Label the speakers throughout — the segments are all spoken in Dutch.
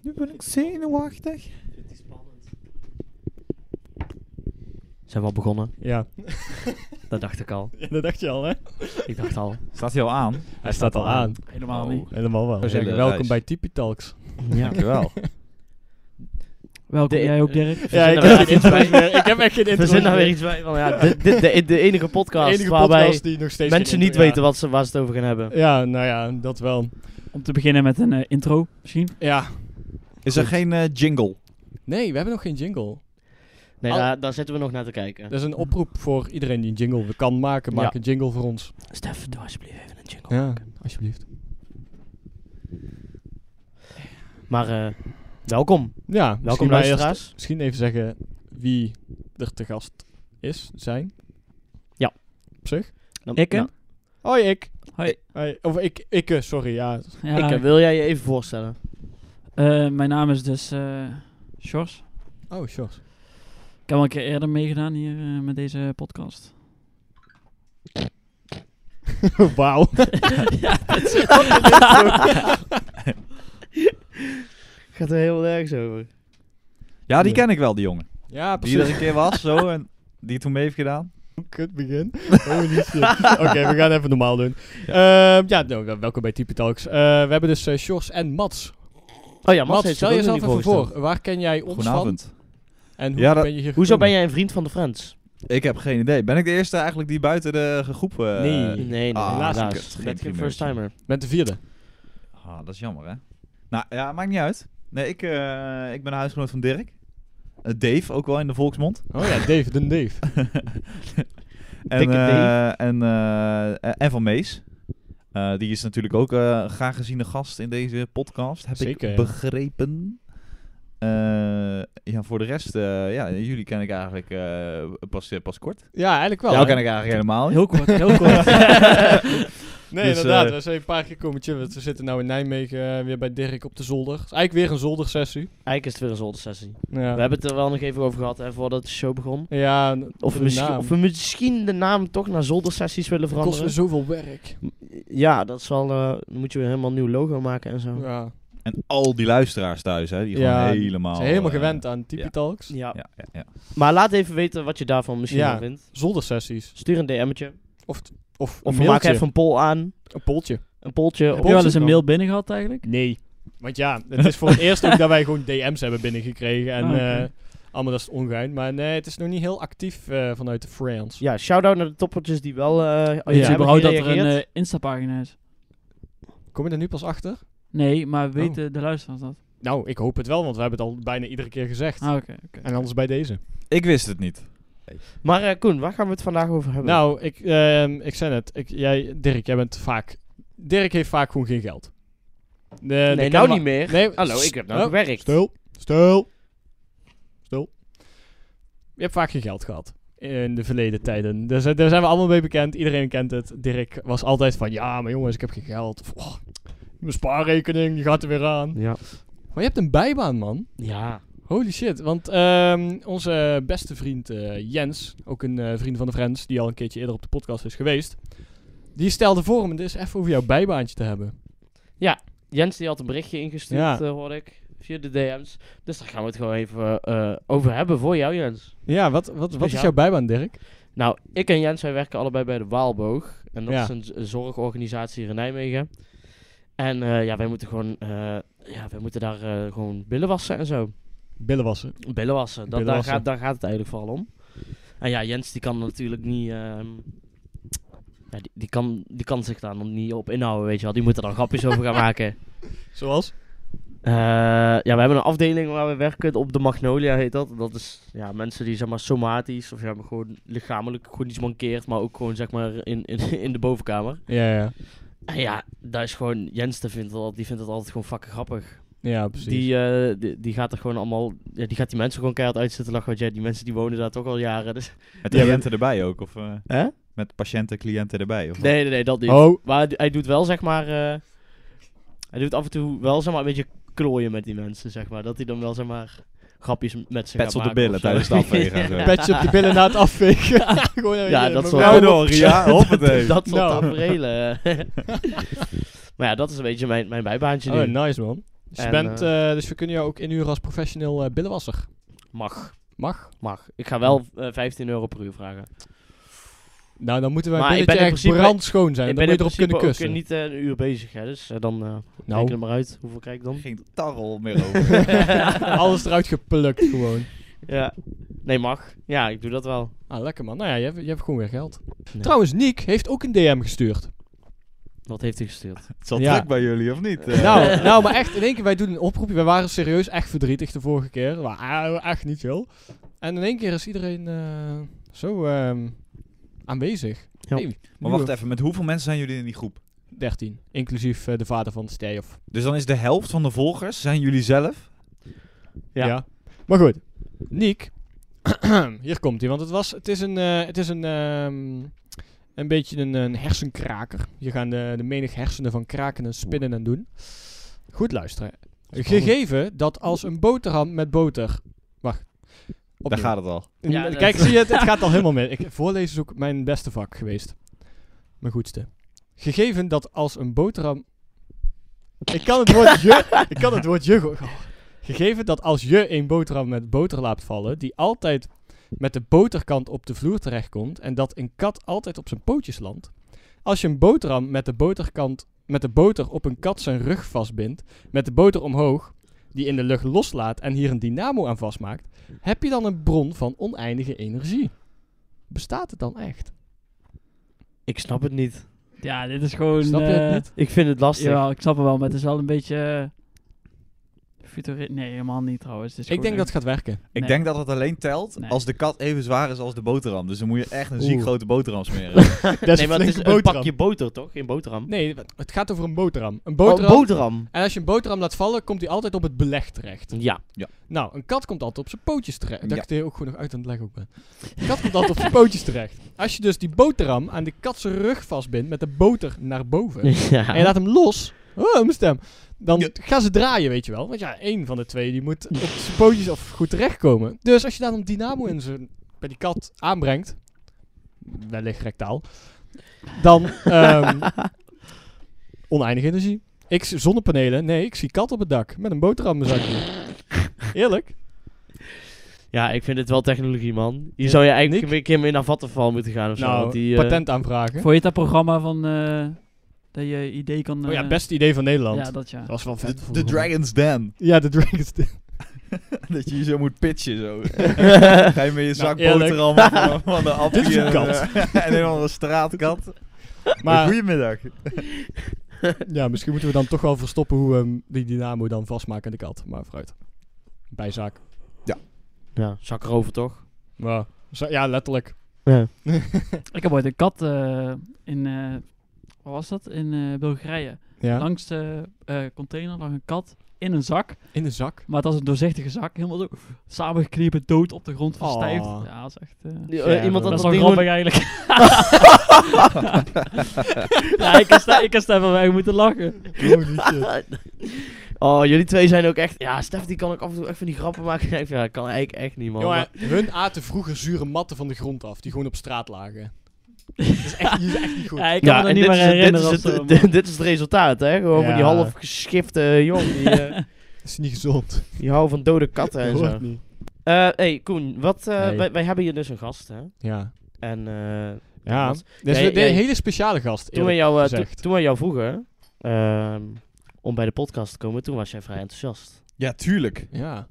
Speaker 1: ben ik zenuwachtig.
Speaker 2: Het is spannend.
Speaker 3: Zijn we al begonnen?
Speaker 2: Ja.
Speaker 3: Dat dacht ik al.
Speaker 2: dat dacht je al, hè?
Speaker 3: Ik dacht al.
Speaker 1: Staat hij al aan?
Speaker 2: Hij staat al aan.
Speaker 1: Helemaal niet.
Speaker 2: Helemaal wel.
Speaker 4: We zijn
Speaker 2: Zeg,
Speaker 4: er,
Speaker 2: welkom
Speaker 4: Thijs.
Speaker 2: bij Tipi Talks.
Speaker 3: Ja.
Speaker 4: Dankjewel.
Speaker 3: Welkom
Speaker 2: De-
Speaker 3: jij ook, Dirk.
Speaker 2: Ja, ik
Speaker 3: Verzin daar
Speaker 2: heb,
Speaker 3: weer iets bij.
Speaker 2: ik heb echt geen
Speaker 3: Verzin
Speaker 2: intro.
Speaker 3: daar weer iets bij. Van, ja, dit, dit, de, e- de enige podcast
Speaker 2: enige
Speaker 3: waarbij
Speaker 2: podcast die nog steeds
Speaker 3: mensen
Speaker 2: geen
Speaker 3: niet
Speaker 2: intro- ja.
Speaker 3: weten wat ze, waar ze het over gaan hebben.
Speaker 2: Ja, nou ja, dat wel.
Speaker 1: Om te beginnen met een eh, intro, misschien.
Speaker 2: Ja.
Speaker 4: Is er geen eh, jingle?
Speaker 2: Nee, we hebben nog geen jingle.
Speaker 3: Nee,
Speaker 2: Al-
Speaker 3: daar, daar zitten we nog naar te kijken.
Speaker 2: Dat is een oproep voor iedereen die een jingle kan maken. Maak
Speaker 3: Ja.
Speaker 2: een jingle voor ons.
Speaker 3: Stef, doe alsjeblieft even een jingle.
Speaker 2: Ja, alsjeblieft.
Speaker 3: Maar eh, welkom.
Speaker 2: Ja,
Speaker 3: Welkom
Speaker 2: misschien maar eerst-
Speaker 3: luisteraars.
Speaker 2: Misschien even zeggen wie er te gast is, zijn.
Speaker 3: Ja.
Speaker 2: Op zich.
Speaker 3: Dan- nou,
Speaker 1: Ik, hè?
Speaker 3: ja.
Speaker 2: Hoi, ik.
Speaker 1: Hoi.
Speaker 2: Hoi. Of ik, ik, eh, sorry, ja.
Speaker 1: Ja,
Speaker 3: Ik, eh, wil jij je even voorstellen?
Speaker 1: eh, mijn naam is dus eh Sjors.
Speaker 2: Oh, short.
Speaker 1: Ik heb al een keer eerder meegedaan hier eh, met deze podcast.
Speaker 2: Wauw.
Speaker 3: Gaat er heel erg over.
Speaker 4: Ja, die
Speaker 2: Nee.
Speaker 4: ken ik wel, die jongen.
Speaker 2: Ja,
Speaker 4: Die er
Speaker 2: precies.
Speaker 4: een keer was, zo, en die het toen mee heeft gedaan.
Speaker 2: Kut begin. Holy shit. Oké, we gaan even normaal doen. Ja, ja nou, welkom bij Type Talks. Eh, we hebben dus eh Sjors en Mats.
Speaker 3: Oh ja, Mats,
Speaker 2: Mats,
Speaker 3: heeft
Speaker 2: stel
Speaker 3: zich ook nog
Speaker 2: jezelf
Speaker 3: niet
Speaker 2: even
Speaker 3: voorgesteld.
Speaker 2: voor. Waar ken jij ons van?
Speaker 4: Goedenavond.
Speaker 2: En hoe
Speaker 4: Ja, dat-
Speaker 2: ben je hier
Speaker 3: Hoezo ben
Speaker 2: gekomen?
Speaker 3: jij een vriend van de Friends?
Speaker 4: Ik heb geen idee. Ben ik de eerste eigenlijk die buiten de ge- groep... eh,
Speaker 2: Nee.
Speaker 3: Nee, nee,
Speaker 4: Ah,
Speaker 3: helaas.
Speaker 4: kut.
Speaker 3: Je
Speaker 4: Geen
Speaker 3: bent geen
Speaker 4: primeurtje.
Speaker 3: first timer.
Speaker 2: Met de vierde.
Speaker 4: Ah, dat is jammer, hè? Nou, ja, maakt niet uit. Nee, ik, eh, ik ben een huisgenoot van Dirk. Eh, Dave, ook wel in de volksmond.
Speaker 2: Oh ja, Dave, de Dave.
Speaker 4: En,
Speaker 3: Dikke Dave.
Speaker 4: eh, en, eh, en- en van Mees. Eh, die is natuurlijk ook eh graag geziene gast in deze podcast. Heb
Speaker 2: Zeker, ja.
Speaker 4: ik begrepen. Eh, ja, voor de rest, eh, ja, jullie ken ik eigenlijk eh, pas, eh, pas kort.
Speaker 2: Ja, eigenlijk wel.
Speaker 4: Jou
Speaker 2: hè?
Speaker 4: ken ik eigenlijk helemaal niet.
Speaker 1: Heel kort, heel kort.
Speaker 2: Nee,
Speaker 4: Dus,
Speaker 2: inderdaad.
Speaker 4: eh,
Speaker 2: we zijn een paar keer komen chillen. We zitten nu in Nijmegen eh, weer bij Dirk op de zolder. Het is eigenlijk weer een zoldersessie.
Speaker 3: Eigenlijk is het weer een zoldersessie. We
Speaker 2: Ja.
Speaker 3: hebben het er wel nog even over gehad hè, voordat de show begon.
Speaker 2: Ja, n-
Speaker 3: Of,
Speaker 2: de
Speaker 3: misschien,
Speaker 2: naam.
Speaker 3: of we misschien de naam toch naar zoldersessies willen
Speaker 2: Het kost me
Speaker 3: veranderen.
Speaker 2: zoveel werk.
Speaker 3: Ja, dat zal, eh, dan moet je weer helemaal een nieuw logo maken en zo.
Speaker 2: Ja.
Speaker 4: En al die luisteraars thuis, hè, die gewoon
Speaker 2: Ja,
Speaker 4: helemaal...
Speaker 2: Ze zijn helemaal
Speaker 4: eh,
Speaker 2: gewend aan Tipi
Speaker 4: ja.
Speaker 2: Talks.
Speaker 3: Ja.
Speaker 4: Ja, ja, ja.
Speaker 3: Maar laat even weten wat je daarvan misschien
Speaker 2: Ja.
Speaker 3: van vindt.
Speaker 2: Zondagsessies.
Speaker 3: Stuur een DM'tje.
Speaker 2: Of, t- of,
Speaker 3: Of
Speaker 2: een
Speaker 3: maak
Speaker 2: mailtje.
Speaker 3: even een poll aan.
Speaker 2: een poltje.
Speaker 3: Een polltje.
Speaker 1: heb
Speaker 3: op-
Speaker 1: je wel eens een
Speaker 2: dan? Oh
Speaker 1: mail binnen gehad eigenlijk?
Speaker 2: Nee. Want ja, het is voor het eerst ook dat wij gewoon DM's hebben binnengekregen. En
Speaker 1: Ah, oké.
Speaker 2: eh, allemaal dat is het ongeheim. Maar nee, het is nog niet heel actief eh, vanuit de France.
Speaker 3: Ja, shout-out naar de toppertjes die wel eh al
Speaker 1: Weet
Speaker 3: iets
Speaker 1: je
Speaker 3: hebben
Speaker 1: überhaupt dat er
Speaker 3: gereageerd.
Speaker 1: een eh, Insta-pagina is?
Speaker 2: Kom je er nu pas achter?
Speaker 1: Nee,
Speaker 2: Oh.
Speaker 1: maar weten de luisteraars dat?
Speaker 2: Nou, ik hoop het wel, want we hebben het al bijna iedere keer gezegd.
Speaker 1: Ah, oké. oké.
Speaker 2: En anders bij deze.
Speaker 4: Ik wist het niet.
Speaker 3: Maar eh, Koen, waar gaan we het vandaag over hebben?
Speaker 2: Nou, ik, ehm, ik zei het. Ik, jij, Dirk, jij bent vaak... Dirk heeft vaak gewoon geen geld. De- eh, de
Speaker 3: nee, nou
Speaker 2: camera-
Speaker 3: niet meer.
Speaker 2: Nee,
Speaker 3: Hallo, ik heb nou
Speaker 2: Oh,
Speaker 3: gewerkt.
Speaker 2: Stil, stil, stil. Je hebt vaak geen geld gehad in de verleden tijden. Daar zijn, daar zijn we allemaal mee bekend. Iedereen kent het. Dirk was altijd van, ja, maar jongens, ik heb geen geld. Of, oh, mijn spaarrekening, die gaat er weer aan.
Speaker 3: Ja.
Speaker 2: Maar je hebt een bijbaan, man.
Speaker 3: Ja.
Speaker 2: Holy shit. Want ehm, onze beste vriend eh, Jens, ook een eh, vriend van de Friends, die al een keertje eerder op de podcast is geweest, die stelde voor om het eens even over jouw bijbaantje te hebben.
Speaker 3: Jens die had een berichtje ingestuurd,
Speaker 2: Ja.
Speaker 3: eh, hoorde ik. Via de DM's. Dus daar gaan we het gewoon even eh, over hebben voor jou, Jens.
Speaker 2: Ja, wat, wat, wat is
Speaker 3: Speciaal.
Speaker 2: jouw bijbaan, Dirk?
Speaker 3: Nou, ik en Jens, wij werken allebei bij de Waalboog. En dat
Speaker 2: Ja.
Speaker 3: is een z- een zorgorganisatie hier in Nijmegen. En eh, ja, wij moeten gewoon, eh, ja, wij moeten daar eh, gewoon billen wassen en zo.
Speaker 2: Billen wassen.
Speaker 3: Billen wassen, dat,
Speaker 2: Billen
Speaker 3: daar,
Speaker 2: wassen.
Speaker 3: gaat, daar gaat het eigenlijk vooral om. En ja, Jens die kan natuurlijk niet, ehm, ja, die, die, kan, die kan zich daar nog niet op inhouden, weet je wel. Die moet er dan grapjes over gaan maken.
Speaker 2: Zoals?
Speaker 3: Eh, ja, we hebben een afdeling waar we werken op de Magnolia heet dat. Dat is ja, mensen die zeg maar somatisch of ja, maar gewoon lichamelijk gewoon iets mankeert, maar ook gewoon zeg maar in, in, in de bovenkamer.
Speaker 2: Ja, ja.
Speaker 3: En ja, daar is gewoon Jens te vindt dat, die vindt dat altijd gewoon fucking grappig.
Speaker 2: Ja, precies.
Speaker 3: Die, eh, die, die gaat er gewoon allemaal, ja, die gaat die mensen gewoon keihard uitzitten lachen, want ja, die mensen die wonen daar toch al jaren. Dus.
Speaker 4: Met
Speaker 2: Ja,
Speaker 4: cliënten erbij ook, of... eh,
Speaker 3: Hè?
Speaker 4: met patiënten, cliënten erbij, of...
Speaker 3: Nee, nee, nee, dat niet.
Speaker 2: Oh,
Speaker 3: Maar hij doet wel zeg maar, eh, hij doet af en toe wel zeg maar een beetje klooien met die mensen zeg maar. Dat hij dan wel zeg maar grapjes met ze
Speaker 4: Pets
Speaker 3: gaat
Speaker 4: op de
Speaker 3: maken
Speaker 4: billen
Speaker 3: of zo.
Speaker 4: tijdens het afwegen. en zo.
Speaker 2: petje op de billen na het afvegen. Gewoon even-
Speaker 3: Ja, dat
Speaker 2: even-
Speaker 3: soort-
Speaker 4: Nou door, ja, hoppatee.
Speaker 3: dat soort
Speaker 2: Nou.
Speaker 3: eh. tafereelen. maar ja, dat is een beetje mijn, mijn bijbaantje nu.
Speaker 2: Oh, nice man. Dus, je
Speaker 3: En,
Speaker 2: bent, eh, dus we kunnen jou ook inhuren als professioneel eh, billenwasser.
Speaker 3: Mag,
Speaker 2: Mag.
Speaker 3: mag. Ik ga wel eh, 15 euro per uur vragen.
Speaker 2: Nou, dan moeten wij
Speaker 3: Maar ik
Speaker 2: billetje
Speaker 3: ben in
Speaker 2: echt
Speaker 3: principe-
Speaker 2: brand schoon zijn. Dan moet je erop
Speaker 3: principe
Speaker 2: kunnen
Speaker 3: ook,
Speaker 2: kussen.
Speaker 3: eh, niet eh, een uur bezig, hè. Dus eh, dan eh
Speaker 2: nou,
Speaker 3: reken er maar uit. Hoeveel krijg ik dan?
Speaker 4: Geen tarrel meer over.
Speaker 2: alles eruit geplukt gewoon.
Speaker 3: Ja. Nee, mag. Ja, ik doe dat wel.
Speaker 2: Ah, lekker man. Nou ja, je hebt, je hebt gewoon weer geld.
Speaker 3: Nee.
Speaker 2: Trouwens, Niek heeft ook een DM gestuurd.
Speaker 3: Wat heeft hij gestuurd?
Speaker 4: het zat
Speaker 2: Ja.
Speaker 4: druk bij jullie, of niet? Eh,
Speaker 2: Nou, nou, maar echt, in één keer, wij doen een oproepje. Wij waren serieus echt verdrietig de vorige keer. Maar ah, echt niet chill. En in één keer is iedereen eh, zo ehm, aanwezig.
Speaker 3: Ja.
Speaker 2: Hey,
Speaker 4: Maar wacht even, met hoeveel mensen zijn jullie in die groep?
Speaker 2: 13. Inclusief eh, de vader van Stijf.
Speaker 4: Dus dan is de helft van de volgers, zijn jullie zelf?
Speaker 3: Ja.
Speaker 2: Maar goed, Niek. Hier komt hij, want het, was, het is een, eh, het is een, ehm, een beetje een, een hersenkraker. Hier gaan de, de menig hersenen van kraken en spinnen en doen. Goed luisteren. Gegeven dat als een boterham met boter... Wacht.
Speaker 4: Daar
Speaker 2: opnieuw.
Speaker 4: gaat het al.
Speaker 2: Een-
Speaker 3: Ja,
Speaker 2: een-
Speaker 3: dat-
Speaker 2: Kijk, zie je, het, het gaat al helemaal mee. Ik, voorlezen is ook mijn beste vak geweest. Mijn goedste. Gegeven dat als een boterham... Ik kan het woord je... ik kan het woord je... go- goh. Gegeven dat als je een boterham met boter laat vallen... die altijd met de boterkant op de vloer terechtkomt... en dat een kat altijd op zijn pootjes landt... als je een boterham met de boterkant... met de boter op een kat zijn rug vastbindt... met de boter omhoog... die in de lucht loslaat en hier een dynamo aan vastmaakt... Heb je dan een bron van oneindige energie? Bestaat het dan echt?
Speaker 3: Ik snap het niet.
Speaker 1: Ja, dit is gewoon...
Speaker 2: Snap je het
Speaker 1: eh,
Speaker 2: niet?
Speaker 3: Ik vind het lastig.
Speaker 1: Ja, ik snap het wel, maar het is wel een beetje... eh, Futuri nee, helemaal niet trouwens. Het is
Speaker 2: Ik denk
Speaker 1: gewoon eh,
Speaker 2: dat het gaat werken.
Speaker 4: Ik
Speaker 1: Nee.
Speaker 4: denk dat het alleen telt
Speaker 1: Nee.
Speaker 4: als de kat even zwaar is als de boterham. Dus dan moet je echt een
Speaker 2: Oeh.
Speaker 4: ziek grote boterham smeren.
Speaker 2: Dat
Speaker 3: nee, maar het is een pakje boter, toch? Geen boterham.
Speaker 2: Nee, wa- het gaat over een boterham. Een
Speaker 3: Oh,
Speaker 2: boterham.
Speaker 3: boterham.
Speaker 2: en als je een boterham laat vallen, komt die altijd op het beleg terecht.
Speaker 3: Ja.
Speaker 2: Nou, een kat komt altijd op zijn pootjes terecht. Ik
Speaker 4: Ja.
Speaker 2: dacht dat je ook gewoon nog uit aan het leggen ook ben. Een kat komt altijd op zijn pootjes terecht. Als je dus die boterham aan de kat zijn rug vastbindt met de boter naar boven...
Speaker 3: ja.
Speaker 2: en je laat hem los... Oh, mijn stem. Dan
Speaker 4: Ja.
Speaker 2: gaan ze draaien, weet je wel. Want ja, één van de twee die moet op zijn pootjes of goed terechtkomen. Dus als je daar een dynamo in zijn, bij die kat aanbrengt, wellicht rectaal, dan ehm oneindig energie. Ik zie zonnepanelen. Nee, ik zie kat op het dak met een boterham in mijn zakje. Eerlijk?
Speaker 3: ja, ik vind het wel technologie, man. Hier zou je eigenlijk
Speaker 2: Nick?
Speaker 3: een keer mee naar Vattenfall moeten gaan of zo.
Speaker 2: nou,
Speaker 3: want die, eh,
Speaker 2: patent aanvragen.
Speaker 1: Voor je dat programma van... eh, dat je idee kan...
Speaker 2: Oh ja,
Speaker 1: eh,
Speaker 2: beste idee van Nederland.
Speaker 1: Ja, dat ja.
Speaker 2: dat was wel vet.
Speaker 4: De, de
Speaker 2: vroeger.
Speaker 4: Dragon's Den.
Speaker 2: Ja, de Dragons.
Speaker 4: Dat je hier zo moet pitchen zo. Ga je met je zak
Speaker 2: Nou, eerlijk.
Speaker 4: boterham van, van de appie
Speaker 2: Dit is een
Speaker 4: en,
Speaker 2: kat.
Speaker 4: eh, en een of andere straatkat.
Speaker 2: Maar
Speaker 4: Goedemiddag.
Speaker 2: Ja, misschien moeten we dan toch wel verstoppen hoe we hem, die dynamo dan vastmaken aan de kat. Maar vooruit. Bijzaak.
Speaker 3: Ja, zak erover, toch?
Speaker 2: Ja, zo- ja letterlijk.
Speaker 3: Ja.
Speaker 1: Ik heb ooit een kat eh, in... eh, waar was dat? In eh, Bulgarije.
Speaker 2: Ja.
Speaker 1: Langs de eh, container lag een kat in een zak.
Speaker 2: In de zak.
Speaker 1: Maar het was een doorzichtige zak. Helemaal zo samengeknepen, dood op de grond verstijfd.
Speaker 2: Oh.
Speaker 1: Ja, dat is echt... eh,
Speaker 2: Ja,
Speaker 3: iemand
Speaker 2: dat
Speaker 1: dat
Speaker 3: had
Speaker 1: is
Speaker 3: dat ding
Speaker 1: wel grappig
Speaker 3: gewoon-
Speaker 1: eigenlijk. ja, ik kan sta- ik kan staan van wij moeten lachen.
Speaker 3: Oh, jullie twee zijn ook echt... Ja, Stef die kan ook af en toe echt van die grappen maken. Ik denk van, Ja, dat kan eigenlijk echt niet, man.
Speaker 2: Jongen,
Speaker 3: Maar-
Speaker 2: hun aten vroeger zure matten van de grond af, die gewoon op straat lagen. Dat is echt, die is echt niet goed.
Speaker 1: Ja, ik kan
Speaker 3: Ja, en
Speaker 1: me er niet
Speaker 3: dit
Speaker 1: meer
Speaker 3: is het-
Speaker 1: herinneren.
Speaker 3: Dit
Speaker 1: of
Speaker 3: is,
Speaker 1: zo,
Speaker 3: het,
Speaker 1: maar-
Speaker 3: dit- dit is het resultaat, hè? Gewoon van die
Speaker 2: Ja.
Speaker 3: half geschifte jong. Die, eh,
Speaker 2: Dat is niet gezond.
Speaker 3: die houden van dode katten en
Speaker 2: Dat
Speaker 3: zo.
Speaker 2: hoort niet.
Speaker 3: Eh, hey, Koen, wat, eh,
Speaker 2: Hey.
Speaker 3: wij, wij hebben hier dus een gast, hè?
Speaker 2: Ja.
Speaker 3: En eh,
Speaker 2: Ja.
Speaker 3: Wat?
Speaker 2: Dit is
Speaker 3: Jij-
Speaker 2: een
Speaker 3: jij-
Speaker 2: hele speciale gast.
Speaker 3: toen, wij
Speaker 2: eerlijk
Speaker 3: jou, eh, to-
Speaker 2: gezegd.
Speaker 3: toen wij jou vroegen ehm, om bij de podcast te komen, toen was jij vrij enthousiast.
Speaker 4: Ja, tuurlijk.
Speaker 2: Ja.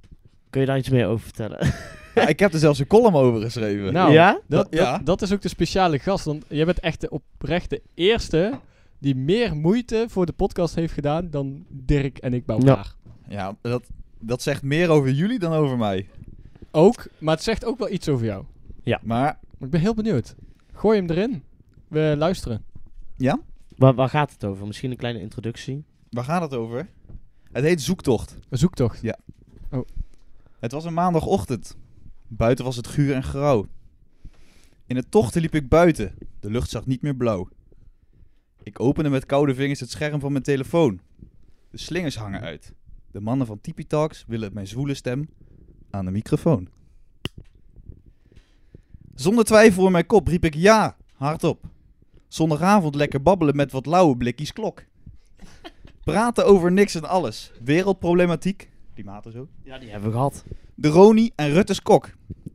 Speaker 3: Kun je daar iets meer over vertellen?
Speaker 4: Ja, ik heb er zelfs een column over geschreven.
Speaker 2: Nou,
Speaker 3: ja?
Speaker 2: Dat,
Speaker 4: Ja.
Speaker 2: dat, dat is ook de speciale gast. Want jij bent echt de oprechte eerste die meer moeite voor de podcast heeft gedaan dan Dirk en ik bij
Speaker 3: Ja.
Speaker 2: elkaar.
Speaker 4: Ja, dat, dat zegt meer over jullie dan over mij.
Speaker 2: Ook, maar het zegt ook wel iets over jou.
Speaker 4: Maar
Speaker 2: Maar ik ben heel benieuwd. Gooi hem erin. We luisteren.
Speaker 4: ja,
Speaker 3: Waar, waar gaat het over? Misschien een kleine introductie?
Speaker 4: waar gaat het over? Het heet Zoektocht.
Speaker 2: Een zoektocht.
Speaker 4: Het was een maandagochtend. Buiten was het guur en grauw. In het tochten liep ik buiten. De lucht zag niet meer blauw. Ik opende met koude vingers het scherm van mijn telefoon. De slingers hangen uit. De mannen van Tipi Talks willen mijn zwoele stem aan de microfoon. Zonder twijfel in mijn kop riep ik ja, hardop. Zondagavond lekker babbelen met wat lauwe blikjes klok. Praten over niks en alles. Wereldproblematiek. Klimaat en zo.
Speaker 3: Ja, die hebben we gehad.
Speaker 4: De Roni en Rutte's kok.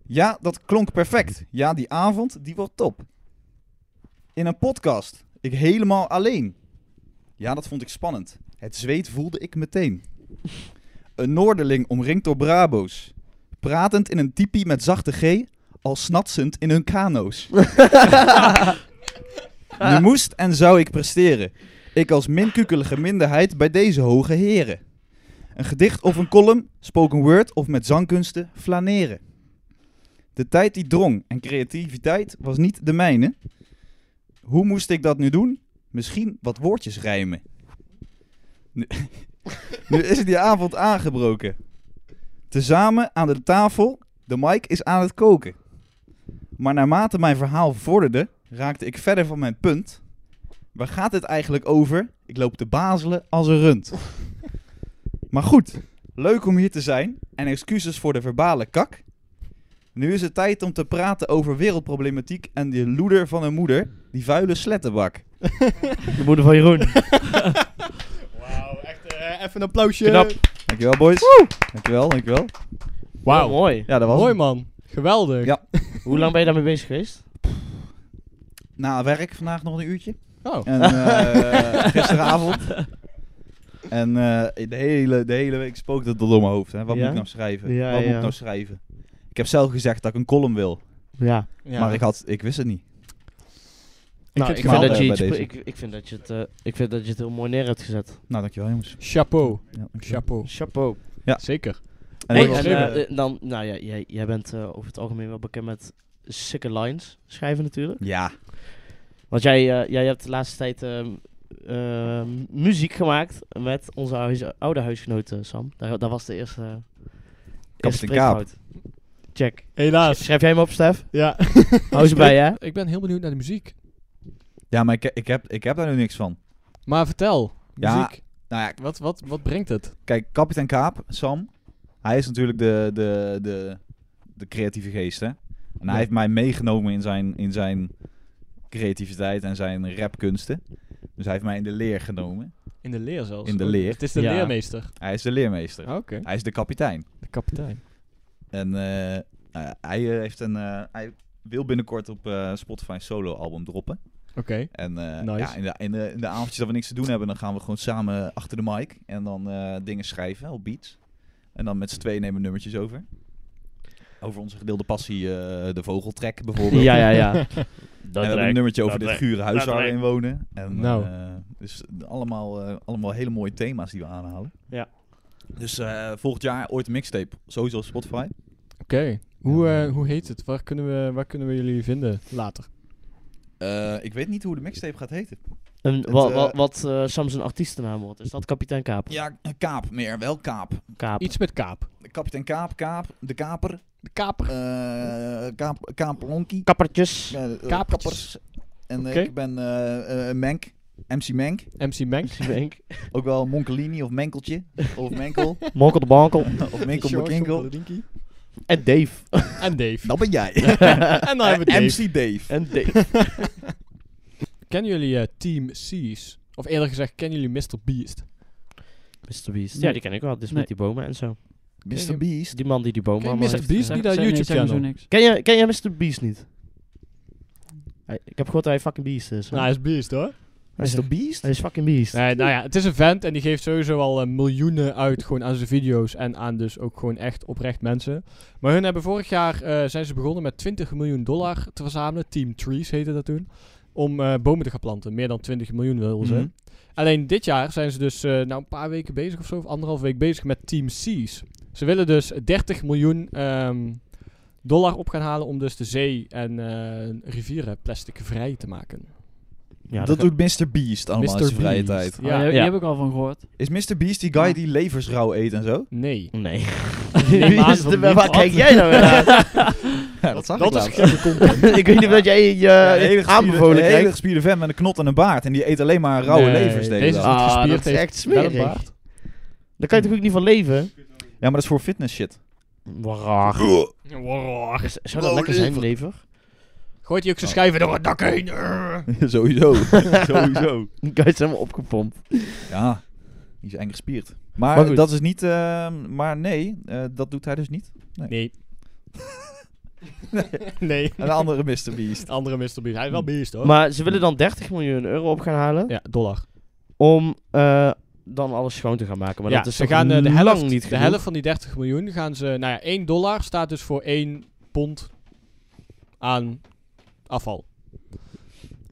Speaker 4: Ja, dat klonk perfect. Ja, die avond, die wordt top. In een podcast. Ik helemaal alleen. Ja, dat vond ik spannend. Het zweet voelde ik meteen. Een Noorderling omringd door Brabo's. Pratend in een tipi met zachte G, al snatsend in hun kano's. Nu moest en zou ik presteren. Ik als minkukelige minderheid bij deze hoge heren. Een gedicht of een column, spoken word of met zangkunsten flaneren. De tijd die drong en creativiteit was niet de mijne. Hoe moest ik dat nu doen? Misschien wat woordjes rijmen. Nu, nu is die avond aangebroken. Tezamen aan de tafel, de mic is aan het koken. Maar naarmate mijn verhaal vorderde, raakte ik verder van mijn punt. Waar gaat het eigenlijk over? Ik loop te bazelen als een rund. Maar goed, leuk om hier te zijn en excuses voor de verbale kak. Nu is het tijd om te praten over wereldproblematiek en de loeder van een moeder, die vuile slettenbak.
Speaker 3: De moeder van Jeroen.
Speaker 2: Wauw, echt eh, even een applausje.
Speaker 3: Knap.
Speaker 4: Dankjewel boys. Dankjewel, dankjewel.
Speaker 3: Wauw.
Speaker 2: Wauw.
Speaker 3: mooi.
Speaker 4: Ja, dat was
Speaker 2: Mooi
Speaker 4: het.
Speaker 2: man. Geweldig.
Speaker 4: Ja.
Speaker 3: Hoe lang ben je daarmee bezig geweest?
Speaker 4: Na werk vandaag nog een uurtje.
Speaker 2: Oh.
Speaker 4: En eh, gisteravond. En eh, de, hele, de hele week spookt het door mijn hoofd. Hè. Wat
Speaker 3: Ja?
Speaker 4: moet ik nou schrijven?
Speaker 3: Ja,
Speaker 4: Wat moet
Speaker 3: ja.
Speaker 4: ik nou schrijven? Ik heb zelf gezegd dat ik een column wil.
Speaker 3: Ja.
Speaker 2: Ja.
Speaker 4: Maar ik, had, ik wist het niet.
Speaker 3: Nou,
Speaker 2: heb
Speaker 3: ik,
Speaker 2: het
Speaker 3: vind
Speaker 2: gehaald,
Speaker 3: dat
Speaker 4: eh,
Speaker 3: je iets,
Speaker 4: bij
Speaker 3: ik, ik, vind dat je het, eh, ik vind dat je het heel mooi neer hebt gezet.
Speaker 4: Nou, dankjewel jongens.
Speaker 2: Chapeau.
Speaker 4: Ja, dankjewel.
Speaker 2: Chapeau.
Speaker 3: Chapeau.
Speaker 2: Zeker.
Speaker 4: En
Speaker 2: Hey,
Speaker 4: ik-
Speaker 3: en,
Speaker 2: schrijven.
Speaker 3: eh, eh, dan, nou ja, jij, jij bent eh, over het algemeen wel bekend met sikke lines schrijven natuurlijk.
Speaker 4: ja,
Speaker 3: Want jij, eh, jij hebt de laatste tijd ehm, ehm, muziek gemaakt met onze huis- oude huisgenoot eh, Sam. Daar, daar was de eerste, eerste
Speaker 4: Kapitein Kaap.
Speaker 3: spreekfout. Check.
Speaker 2: Helaas.
Speaker 3: Schrijf jij hem op, Stef?
Speaker 2: Ja.
Speaker 3: Hou ze bij, hè?
Speaker 2: Ik ben heel benieuwd naar de muziek.
Speaker 4: ja maar ik, ik, heb, ik heb daar nu niks van.
Speaker 2: Maar vertel.
Speaker 4: Ja.
Speaker 2: Muziek.
Speaker 4: Nou ja,
Speaker 2: Wat, wat, wat brengt het?
Speaker 4: kijk, kapitein Kaap, Sam. Hij is natuurlijk de, de, de, de creatieve geest, hè. En hij
Speaker 2: Ja.
Speaker 4: heeft mij meegenomen in zijn, in zijn creativiteit en zijn rapkunsten. Dus hij heeft mij in de leer genomen.
Speaker 2: In de leer zelfs.
Speaker 4: In de
Speaker 2: Oh,
Speaker 4: leer.
Speaker 2: Het is de
Speaker 3: Ja.
Speaker 2: leermeester.
Speaker 4: Hij is de leermeester.
Speaker 2: Ah, Oké.
Speaker 4: Hij is de kapitein.
Speaker 2: De kapitein.
Speaker 4: En eh, nou ja, hij, eh, heeft een, eh, hij wil binnenkort op eh, Spotify een solo-album droppen.
Speaker 2: Oké.
Speaker 4: En eh,
Speaker 2: Nice.
Speaker 4: ja, in, de, in, de, in de avondjes dat we niks te doen hebben, dan gaan we gewoon samen achter de mic. En dan eh, dingen schrijven op beats. En dan met z'n tweeën nemen we nummertjes over. Over onze gedeelde passie, eh, de vogeltrek bijvoorbeeld.
Speaker 3: Ja, ja, ja.
Speaker 4: en we hebben een nummertje over
Speaker 3: dat
Speaker 4: dit
Speaker 3: lijkt,
Speaker 4: gure huis
Speaker 3: dat
Speaker 4: waar we in
Speaker 3: lijkt.
Speaker 4: wonen. En,
Speaker 2: Nou.
Speaker 4: eh, dus allemaal, eh, allemaal hele mooie thema's die we aanhalen.
Speaker 3: Ja.
Speaker 4: Dus eh, volgend jaar ooit een mixtape. Sowieso op Spotify.
Speaker 2: Oké. Hoe, eh, hoe heet het? Waar kunnen, we, waar kunnen we jullie vinden later?
Speaker 4: Eh, ik weet niet hoe de mixtape gaat heten.
Speaker 3: En wat
Speaker 4: eh,
Speaker 3: wat, wat eh, Sam zijn artiestennaam wordt, is dat kapitein Kaap?
Speaker 4: Ja, Kaap meer. Wel Kaap.
Speaker 3: Kaap.
Speaker 2: Iets met kaap.
Speaker 4: Kapitein Kaap, Kaap, de Kaper,
Speaker 2: De kaper.
Speaker 4: eh kaap, Kaaplonkie,
Speaker 3: Kappertjes.
Speaker 4: eh, eh,
Speaker 2: Kapertjes.
Speaker 4: Kappers. En eh,
Speaker 2: Oké.
Speaker 4: ik ben eh, eh, Menk, MC Menk.
Speaker 2: MC Menk.
Speaker 3: Denk.
Speaker 4: Ook wel Monkelini of Menkeltje. Of Menkel.
Speaker 3: Monkel de bankel.
Speaker 4: of Menkel
Speaker 2: George
Speaker 4: Menkel.
Speaker 2: Omperdinkie.
Speaker 3: En Dave.
Speaker 2: En Dave.
Speaker 4: Dat ben jij.
Speaker 3: Nou,
Speaker 2: en dan hebben we Dave.
Speaker 4: MC Dave.
Speaker 3: En Dave.
Speaker 2: Kennen jullie eh, Team C's? Of eerder gezegd, kennen jullie Mr. Beast?
Speaker 3: Mr. Beast. Ja, die ken ik wel. Dit is
Speaker 1: Nee.
Speaker 3: met die bomen en zo.
Speaker 4: Mr. Beast.
Speaker 3: Die man die die bomen
Speaker 2: Ken je
Speaker 3: allemaal
Speaker 2: Mr.
Speaker 3: heeft. eh.
Speaker 2: Beast
Speaker 1: Zeg-
Speaker 2: niet dat
Speaker 1: zeg- nee, zeg me zo
Speaker 2: YouTube-channel?
Speaker 1: niks.
Speaker 3: Ken jij, ken jij Mr. Beast niet? Hij- Ik heb gehoord dat hij fucking beast is. hè?
Speaker 2: Nou, hij is Beast hoor.
Speaker 3: hij, is,
Speaker 4: Mr. Beast?
Speaker 3: hij is fucking beast.
Speaker 2: Nee, nou ja, het is een vent en die geeft sowieso al eh, miljoenen uit gewoon aan zijn video's en aan dus ook gewoon echt oprecht mensen. Maar hun hebben vorig jaar, eh, zijn ze begonnen met 20 miljoen dollar te verzamelen, Team Trees heette dat toen, om eh, bomen te gaan planten. Meer dan 20 miljoen wilden ze.
Speaker 4: Mhm.
Speaker 2: Alleen dit jaar zijn ze dus eh, nou een paar weken bezig of zo, of anderhalf week bezig met Team Seas. Ze willen dus 30 miljoen ehm, dollar op gaan halen om dus de zee en eh, rivieren plastic vrij te maken.
Speaker 3: Ja,
Speaker 4: dat
Speaker 3: dat
Speaker 4: doet Mr. Beast allemaal in
Speaker 2: Mr.
Speaker 4: zijn vrije
Speaker 2: Beast.
Speaker 4: tijd.
Speaker 1: Oh,
Speaker 2: Ja.
Speaker 1: die, die
Speaker 3: Ja.
Speaker 1: heb ik al van gehoord.
Speaker 4: Is Mr. Beast die guy
Speaker 1: Ja.
Speaker 4: die levers rauw eet en zo?
Speaker 2: Nee.
Speaker 3: Nee.
Speaker 2: Neem aan
Speaker 3: Beast,
Speaker 2: van
Speaker 3: waar
Speaker 2: niet.
Speaker 3: kijk jij nou weer naar?
Speaker 4: Ja, dat zag
Speaker 2: dat is gekke content.
Speaker 3: ik weet niet of dat jij je
Speaker 4: Ja, een hele gespierde,
Speaker 3: aanbevolen
Speaker 4: een hele
Speaker 3: krijgt.
Speaker 4: gespierde vent met een knot en een baard. En die eet alleen maar rauwe
Speaker 2: Nee,
Speaker 4: levers de hele
Speaker 2: deze is
Speaker 4: dag.
Speaker 2: niet
Speaker 3: Ah,
Speaker 2: gespierd,
Speaker 3: dat is
Speaker 2: heeft
Speaker 3: echt
Speaker 2: wel een
Speaker 3: smerig.
Speaker 2: baard.
Speaker 3: Daar kan je toch ook niet van leven?
Speaker 4: Ja, maar dat is voor fitness shit.
Speaker 3: Waar. Is- Zou dat
Speaker 4: Wow,
Speaker 3: lekker zijn,
Speaker 4: lever.
Speaker 3: lever?
Speaker 2: Gooit hij ook zijn schijven door het dak heen.
Speaker 4: Sowieso. Sowieso.
Speaker 3: Guys zijn helemaal opgepompt.
Speaker 4: Ja. Die is eng gespierd. Maar,
Speaker 3: Maar goed.
Speaker 4: dat is niet... eh, maar nee, eh, dat doet hij dus niet.
Speaker 2: Nee. nee. Mm.
Speaker 4: Een andere Mr. Beast.
Speaker 2: Andere Mr. Beast. Hij is wel beest hoor.
Speaker 3: Maar ze willen dan 30 miljoen euro op gaan halen
Speaker 2: ja, dollar.
Speaker 3: om eh, dan alles schoon te gaan maken. Maar
Speaker 2: ja,
Speaker 3: dat is
Speaker 2: ze
Speaker 3: toch
Speaker 2: gaan eh, de
Speaker 3: lang
Speaker 2: helft,
Speaker 3: niet
Speaker 2: de
Speaker 3: genoeg.
Speaker 2: helft van die 30 miljoen gaan ze... Nou ja, 1 dollar staat dus voor 1 pond aan afval.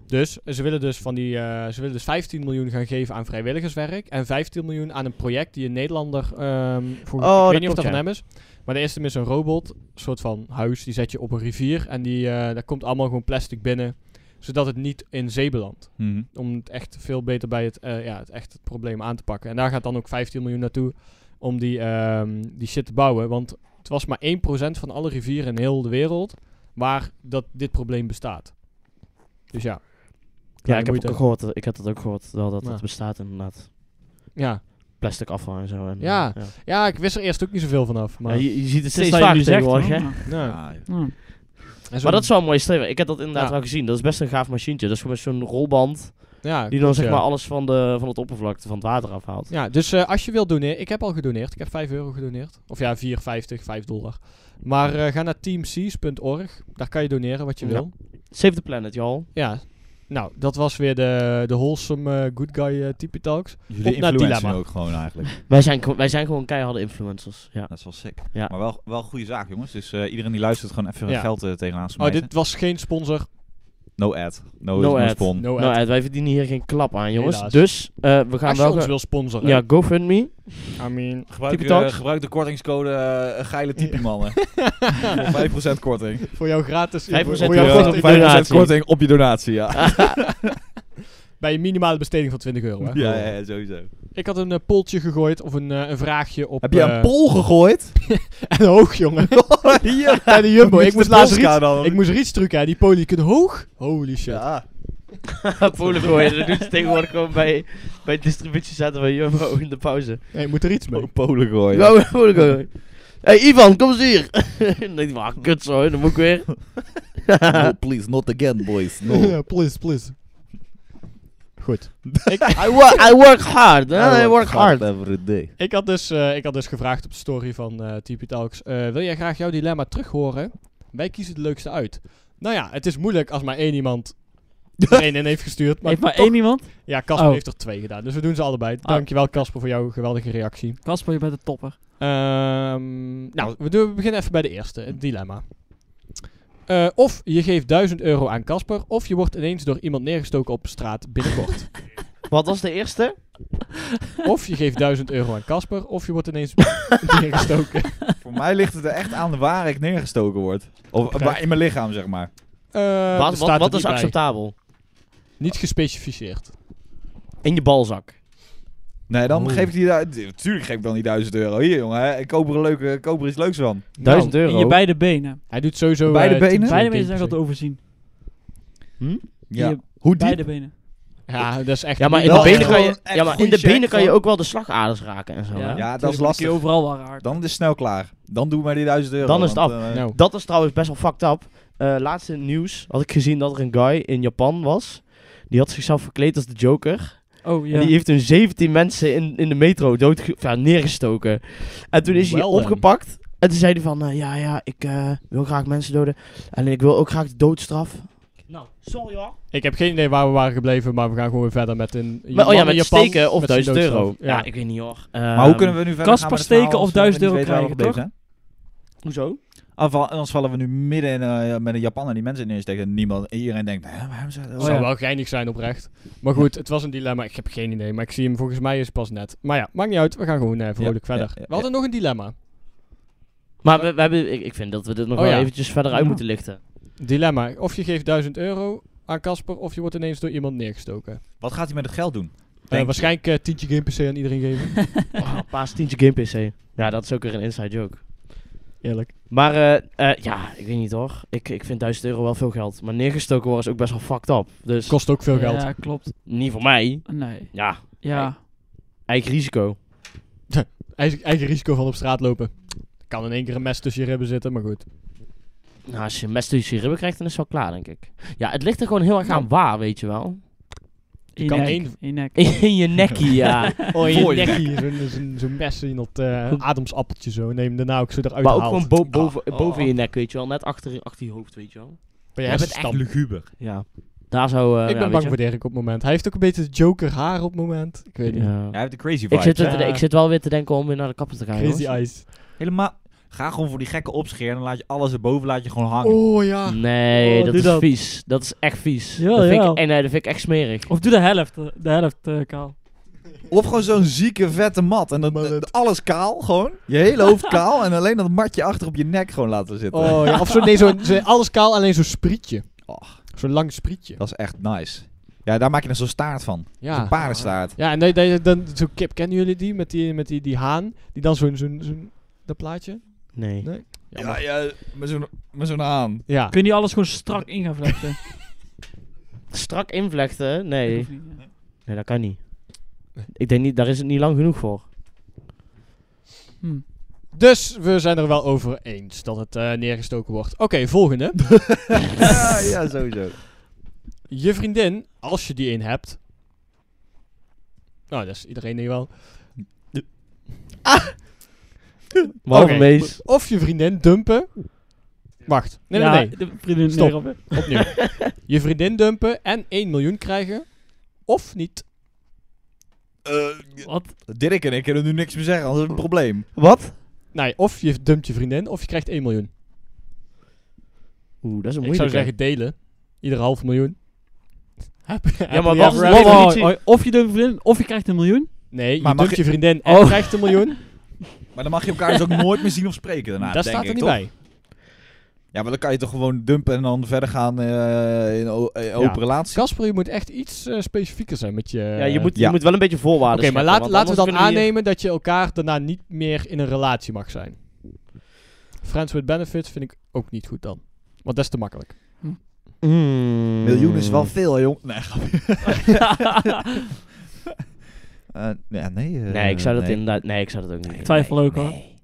Speaker 2: Dus eh, ze willen dus, van die, eh, ze willen dus 15 miljoen gaan geven aan vrijwilligerswerk. En 15 miljoen aan een project die een Nederlander. ehm voor,
Speaker 3: Oh,
Speaker 2: ik
Speaker 3: dat
Speaker 2: weet niet of
Speaker 3: klopt,
Speaker 2: dat van
Speaker 3: ja.
Speaker 2: hem is. Maar er is tenminste een robot. Een soort van huis. Die zet je op een rivier. En die, eh, daar komt allemaal gewoon plastic binnen. Zodat het niet in zee belandt
Speaker 4: Mhm.
Speaker 2: om het echt veel beter bij het, eh, ja, het, echt het probleem aan te pakken. En daar gaat dan ook 15 miljoen naartoe om die, ehm, die shit te bouwen. Want het was maar 1% van alle rivieren in heel de wereld waar dat dit probleem bestaat. Dus ja.
Speaker 3: Ja, ik heb,
Speaker 2: Kleine moeite.
Speaker 3: ook gehoord, eh, ik heb dat ook gehoord, wel dat
Speaker 2: Ja.
Speaker 3: dat bestaat inderdaad.
Speaker 2: ja.
Speaker 3: Plastic afval en zo. En,
Speaker 2: Ja.
Speaker 3: eh,
Speaker 2: ja, ik wist er eerst ook niet zoveel vanaf. Maar,
Speaker 3: Ja, je, je ziet het steeds
Speaker 1: Steeds dat je
Speaker 3: vaker
Speaker 1: nu zegt,
Speaker 3: tegenwoordig,
Speaker 1: hoor.
Speaker 3: hè?
Speaker 1: Ja.
Speaker 2: nou,
Speaker 4: Ah, joh.
Speaker 1: Ja.
Speaker 2: en zo'n-
Speaker 3: Maar dat is wel een mooie streven. Ik heb dat inderdaad
Speaker 2: Ja.
Speaker 3: wel gezien. Dat is best een gaaf machientje. Dat is gewoon met zo'n rolband
Speaker 2: ja,
Speaker 3: die dan
Speaker 2: klopt,
Speaker 3: zeg
Speaker 2: ja.
Speaker 3: maar alles van, de, van het oppervlakte van het water afhaalt.
Speaker 2: Ja, dus eh, als je wilt doneren, ik heb al gedoneerd. Ik heb 5 euro gedoneerd. Of ja, 4,50, 5 dollar. Maar eh, ga naar teamseas.org. Daar kan je doneren wat je
Speaker 3: Ja.
Speaker 2: wil.
Speaker 3: Save the planet, joh.
Speaker 2: Ja, nou, dat was weer de, de wholesome eh, good guy eh, type talks.
Speaker 4: Jullie
Speaker 2: Op naar het
Speaker 4: influencen
Speaker 2: dilemma.
Speaker 4: ook gewoon eigenlijk.
Speaker 3: Wij zijn, gewoon- wij zijn gewoon keiharde influencers. Ja.
Speaker 4: Dat is wel sick.
Speaker 3: Ja.
Speaker 4: Maar wel, wel een goede zaak, jongens. Dus eh, iedereen die luistert gewoon even
Speaker 2: Ja.
Speaker 4: geld eh, tegenaan
Speaker 2: Oh,
Speaker 4: smijten.
Speaker 2: dit was geen sponsor.
Speaker 4: No ad. No,
Speaker 3: No
Speaker 4: no
Speaker 3: ad.
Speaker 4: spon.
Speaker 2: No
Speaker 3: nou,
Speaker 2: ad.
Speaker 3: Ed, wij verdienen hier geen klap aan, jongens.
Speaker 2: Oh, Helaas.
Speaker 3: Dus eh, we gaan
Speaker 2: Als je
Speaker 3: wel.
Speaker 2: ons
Speaker 3: gaan-
Speaker 2: wil sponsoren.
Speaker 3: Ja, GoFundMe.
Speaker 2: I mean...
Speaker 4: Gebruik,
Speaker 3: Type talks.
Speaker 4: eh, gebruik de kortingscode eh, geile type mannen. Voor 5% korting.
Speaker 2: Voor jou gratis.
Speaker 3: Vijf
Speaker 2: voor-
Speaker 3: procent
Speaker 2: voor jou
Speaker 3: korting
Speaker 2: gratis
Speaker 3: op je donatie.
Speaker 4: korting op je donatie, ja.
Speaker 2: Bij een minimale besteding van 20 euro. Hè?
Speaker 4: Ja, ja, ja, sowieso.
Speaker 2: Ik had een eh, poeltje gegooid of een, eh, een vraagje op...
Speaker 4: Heb je een
Speaker 2: eh,
Speaker 4: pol gegooid?
Speaker 2: en hoog, jongen.
Speaker 4: Hier.
Speaker 2: Bij de Jumbo.
Speaker 4: Moest
Speaker 2: ik
Speaker 4: de
Speaker 2: moest laatst
Speaker 4: Polska
Speaker 2: riets,
Speaker 4: dan?
Speaker 2: ik moest riets trucken. hè. Die polie kunt hoog. Holy shit.
Speaker 4: Ja.
Speaker 3: Polen gooien. Dat doen ze tegenwoordig gewoon bij, bij het distributiecentra van Jumbo in de pauze.
Speaker 2: Nee, moet er iets mee.
Speaker 4: Polen gooien.
Speaker 3: Ja, Polen gooien. Hé, hey, Ivan, kom eens hier. dan denk ik, ah, kut zo, dan moet ik weer.
Speaker 4: No, please, not again, boys. No.
Speaker 2: Ja, please, please. Goed.
Speaker 3: I, work, I work Oh, hard. hè, I
Speaker 4: I
Speaker 3: work hard.
Speaker 4: Every day.
Speaker 2: Ik had, dus, eh, ik had dus gevraagd op de story van eh TP Talks: eh, Wil jij graag jouw dilemma terug horen? Wij kiezen het leukste uit. Nou ja, het is moeilijk als maar één iemand er één in heeft gestuurd. Maar
Speaker 1: Heeft maar
Speaker 2: toch-
Speaker 1: één iemand.
Speaker 2: Ja, Casper
Speaker 1: Oh. Ah.
Speaker 2: heeft er twee gedaan. Dus we doen ze allebei. Dankjewel, Casper, voor jouw geweldige reactie.
Speaker 1: Kasper, je bent een topper.
Speaker 2: Ehm, nou, we, doen, we beginnen even bij de eerste: het dilemma. Eh, of je geeft 1000 euro aan Casper, of je wordt ineens door iemand neergestoken op straat binnenkort.
Speaker 3: Wat was de eerste?
Speaker 2: of je geeft 1000 euro aan Casper, of je wordt ineens neergestoken.
Speaker 4: Voor mij ligt het er echt aan waar ik neergestoken word. Of
Speaker 2: Oké.
Speaker 4: waar in mijn lichaam, zeg maar.
Speaker 2: Eh, er
Speaker 3: wat
Speaker 2: staat
Speaker 3: wat,
Speaker 2: er
Speaker 3: wat is
Speaker 2: niet bij.
Speaker 3: acceptabel?
Speaker 2: Niet gespecificeerd.
Speaker 3: In je balzak.
Speaker 4: Nee, dan
Speaker 2: Oeh.
Speaker 4: geef ik die... du- Tuurlijk geef ik dan die 1000 euro. Hier, jongen. hè. Ik koop er, een leuke, ik koop er iets leuks van.
Speaker 3: 1000
Speaker 1: In
Speaker 3: euro.
Speaker 1: je beide benen.
Speaker 2: Hij doet sowieso...
Speaker 4: Beide
Speaker 2: eh,
Speaker 4: benen?
Speaker 2: tien-
Speaker 1: Beide
Speaker 2: tien
Speaker 1: benen zijn wel te
Speaker 2: procent.
Speaker 1: overzien.
Speaker 4: Ja.
Speaker 1: Je
Speaker 4: Hoe diep?
Speaker 1: beide benen.
Speaker 2: Ja, dat is echt...
Speaker 3: Ja, maar in de
Speaker 4: Dat is
Speaker 3: benen, kan
Speaker 4: gewoon
Speaker 3: je,
Speaker 4: echt
Speaker 3: ja, maar in
Speaker 4: goeie
Speaker 3: de
Speaker 4: check
Speaker 3: benen kan je
Speaker 4: van-
Speaker 3: ook wel de slagaders raken en zo. hè?
Speaker 4: Ja, dat
Speaker 1: tuurlijk
Speaker 4: is
Speaker 1: moet je
Speaker 4: lastig.
Speaker 1: overal wel raar.
Speaker 4: Dan is het snel klaar. Dan doen we maar die 1000 euro.
Speaker 3: Dan is het
Speaker 4: want, eh,
Speaker 2: Nou,
Speaker 3: Dat is trouwens best wel fucked up. Eh, laatste in het nieuws had ik gezien dat er een guy in Japan was. Die had zichzelf verkleed als de Joker.
Speaker 1: Oh ja.
Speaker 3: En die heeft toen 17 mensen in, in de metro dood ja, neergestoken. En toen is hij
Speaker 2: Wel dan.
Speaker 3: opgepakt. En toen zei hij van, eh, ja, ja, ik eh, wil graag mensen doden. En ik wil ook graag de doodstraf. Nou, sorry hoor.
Speaker 2: ik heb geen idee waar we waren gebleven, maar we gaan gewoon weer verder met een...
Speaker 3: Maar, oh ja, met
Speaker 2: man in Japan
Speaker 3: steken of
Speaker 2: met zijn
Speaker 3: 1000 euro.
Speaker 2: doodstraf.
Speaker 3: Ja.
Speaker 2: Ja.
Speaker 3: ik weet niet hoor. Ehm,
Speaker 4: Maar hoe kunnen we nu verder
Speaker 1: Kasper
Speaker 4: gaan met het
Speaker 1: steken
Speaker 4: verhaal
Speaker 1: of
Speaker 4: als we
Speaker 1: 1000
Speaker 4: niet
Speaker 1: euro
Speaker 4: weten waar we
Speaker 1: krijgen,
Speaker 4: gebleven
Speaker 3: Hoezo?
Speaker 4: zijn? Afval- Anders vallen we nu midden in, eh, met een Japaner die mensen neersteken. En niemand, iedereen denkt, hè, waarom zou dat?
Speaker 1: Oh
Speaker 2: zou
Speaker 1: ja.
Speaker 2: wel geinig zijn oprecht. Maar goed, het was een dilemma. Ik heb geen idee, maar ik zie hem volgens mij is pas net. Maar ja, maakt niet uit. We gaan gewoon eh, vrolijk
Speaker 4: Ja,
Speaker 2: verder.
Speaker 4: ja, ja,
Speaker 2: we hadden nog een dilemma.
Speaker 3: Maar we, we hebben, ik, ik vind dat we dit nog
Speaker 2: Oh
Speaker 3: wel
Speaker 2: ja.
Speaker 3: eventjes verder uit
Speaker 1: Ja.
Speaker 3: moeten lichten.
Speaker 2: Dilemma. Of je geeft 1000 euro aan Casper, of je wordt ineens door iemand neergestoken. Eh,
Speaker 4: Wat gaat hij met het geld doen?
Speaker 2: waarschijnlijk eh, tientje game PC aan iedereen geven.
Speaker 3: Oh, paas tientje game PC. Ja, dat is ook weer een inside joke.
Speaker 2: Eerlijk.
Speaker 3: Maar eh, eh, ja, ik weet niet hoor. Ik, ik vind 1000 euro wel veel geld. Maar neergestoken worden is ook best wel fucked up. Dus
Speaker 2: Kost ook veel geld.
Speaker 1: Ja, klopt.
Speaker 3: niet voor mij.
Speaker 1: Nee.
Speaker 3: Ja,
Speaker 1: Ja.
Speaker 3: eigen risico.
Speaker 2: eigen, eigen risico van op straat lopen. Kan in één keer een mes tussen je ribben zitten, maar goed.
Speaker 3: Nou, als je een mes tussen je ribben krijgt, dan is het wel klaar, denk ik. Ja, het ligt er gewoon heel erg aan waar, weet je wel.
Speaker 1: In
Speaker 2: kan
Speaker 1: nek,
Speaker 2: één-
Speaker 1: in nek.
Speaker 3: In je nekkie, ja.
Speaker 2: Oh,
Speaker 4: Voor
Speaker 2: je
Speaker 4: je
Speaker 2: nekkie. Zo'n zo'n- zo'n mes in dat eh, adamsappeltje zo. Neem daarna ook zo eruit
Speaker 3: maar ook
Speaker 2: haalt.
Speaker 3: gewoon bo- boven,
Speaker 4: Ah.
Speaker 3: boven je nek, weet je wel. Net achter, achter je hoofd, weet je wel.
Speaker 2: Maar jij
Speaker 4: Jij bent
Speaker 2: hebt
Speaker 4: echt
Speaker 2: een stam.
Speaker 4: luguber.
Speaker 3: Ja. Daar zou... eh,
Speaker 2: Ik
Speaker 3: ja,
Speaker 2: ben
Speaker 3: weet
Speaker 2: bang
Speaker 3: je.
Speaker 2: voor Dirk op het moment. Hij heeft ook een beetje het Joker haar op het moment. Ik weet niet.
Speaker 3: Ja.
Speaker 4: Hij heeft de crazy vibe.
Speaker 3: Ik zit, er-
Speaker 2: Ja.
Speaker 3: ik zit wel weer te denken om weer naar de kapper te gaan,
Speaker 2: Crazy
Speaker 3: jongens.
Speaker 2: Eyes.
Speaker 4: Helemaal... Ga gewoon voor die gekke opscheer en dan laat je alles erboven laat je gewoon hangen.
Speaker 2: Oh ja.
Speaker 3: Nee,
Speaker 2: Oh,
Speaker 3: dat
Speaker 2: doe
Speaker 3: is
Speaker 2: dat.
Speaker 3: vies. Dat is echt vies.
Speaker 1: Jawel,
Speaker 3: dat vind
Speaker 1: jawel.
Speaker 3: ik, en nee, dat vind ik echt smerig.
Speaker 1: Of doe de helft, eh, de helft, eh, Kaal.
Speaker 4: Of gewoon zo'n zieke vette mat en dan
Speaker 2: Maar dat-
Speaker 4: alles kaal gewoon. Je hele hoofd kaal en alleen dat matje achter op je nek gewoon laten zitten.
Speaker 2: Oh ja. Of zo, nee, zo, zo- alles kaal, alleen zo'n sprietje.
Speaker 4: Och.
Speaker 2: Zo'n lang sprietje.
Speaker 4: Dat is echt nice. Ja, daar maak je nog zo'n staart van. Zo'n
Speaker 2: Ja.
Speaker 4: paardenstaart.
Speaker 2: Ja, en dan- dan- dan- zo'n kip, kennen jullie die? Met die, met die, die haan. Die dan zo'n, zo'n, zo'n, dat plaatje.
Speaker 3: Nee.
Speaker 2: Nee.
Speaker 4: Ja, ja, met zo'n met zo'n haan.
Speaker 2: Ja.
Speaker 1: Kun je alles gewoon strak in gaan vlechten?
Speaker 3: Strak invlechten?
Speaker 1: Dat
Speaker 3: Nee.
Speaker 1: hoeft niet, ja.
Speaker 3: Nee, dat kan niet. Ik denk niet, daar is het niet lang genoeg voor.
Speaker 1: Hm.
Speaker 2: Dus we zijn er wel over eens dat het eh, neergestoken wordt. Oké, volgende.
Speaker 4: ja, ja, sowieso.
Speaker 2: Je vriendin, als je die een hebt. Nou, dat is iedereen nu wel.
Speaker 3: Maar
Speaker 2: Oké.
Speaker 3: mees.
Speaker 2: Of je vriendin dumpen. Wacht. Nee,
Speaker 1: Ja,
Speaker 2: nee, nee.
Speaker 1: De vriendin
Speaker 2: Stop.
Speaker 1: erop, hè.
Speaker 2: Opnieuw. je vriendin dumpen en 1 miljoen krijgen. Of niet.
Speaker 4: Eh,
Speaker 1: Wat?
Speaker 4: Dirk en ik kunnen nu niks meer zeggen, anders is het een probleem.
Speaker 3: Wat?
Speaker 2: Nee, of je dumpt je vriendin of je krijgt 1 miljoen.
Speaker 3: Oeh, dat is een
Speaker 2: Ik zou
Speaker 3: moeilijke.
Speaker 2: zeggen delen. Ieder half miljoen. Happy- happy
Speaker 3: maar
Speaker 2: ever
Speaker 3: wacht,
Speaker 2: after.
Speaker 3: wacht, wacht.
Speaker 1: Oh, of je de vriendin, of je krijgt een miljoen.
Speaker 2: Nee, je
Speaker 4: Maar mag
Speaker 2: dumpt je vriendin en
Speaker 3: Oh.
Speaker 2: krijgt een miljoen.
Speaker 4: Maar dan mag je elkaar dus ook nooit meer zien of spreken daarna,
Speaker 2: dat
Speaker 4: denk
Speaker 2: staat er
Speaker 4: ik,
Speaker 2: niet
Speaker 4: toch?
Speaker 2: bij.
Speaker 4: Ja, maar dan kan je toch gewoon dumpen en dan verder gaan eh, in o- eh, open
Speaker 2: Ja.
Speaker 4: relatie.
Speaker 2: Casper, je moet echt iets eh, specifieker zijn met je... eh,
Speaker 3: ja, je moet,
Speaker 4: ja.
Speaker 3: je moet wel een beetje
Speaker 2: Oké,
Speaker 3: voorwaarden scheppen,
Speaker 2: maar laat,
Speaker 3: want
Speaker 2: laten we
Speaker 3: anders
Speaker 2: dan
Speaker 3: kunnen
Speaker 2: aannemen dat je elkaar daarna niet meer in een relatie mag zijn. Friends with benefits vind ik ook niet goed dan. Want dat is te makkelijk.
Speaker 3: hier- Mm.
Speaker 4: Miljoen is wel veel, hè, jong. Nee, grapje. Eh, ja, nee, eh,
Speaker 3: Nee, ik zou dat
Speaker 4: nee.
Speaker 3: inderdaad... Nee, ik zou dat ook niet doen.
Speaker 1: twijfel
Speaker 3: Nee,
Speaker 1: ook, hoor.
Speaker 3: nee.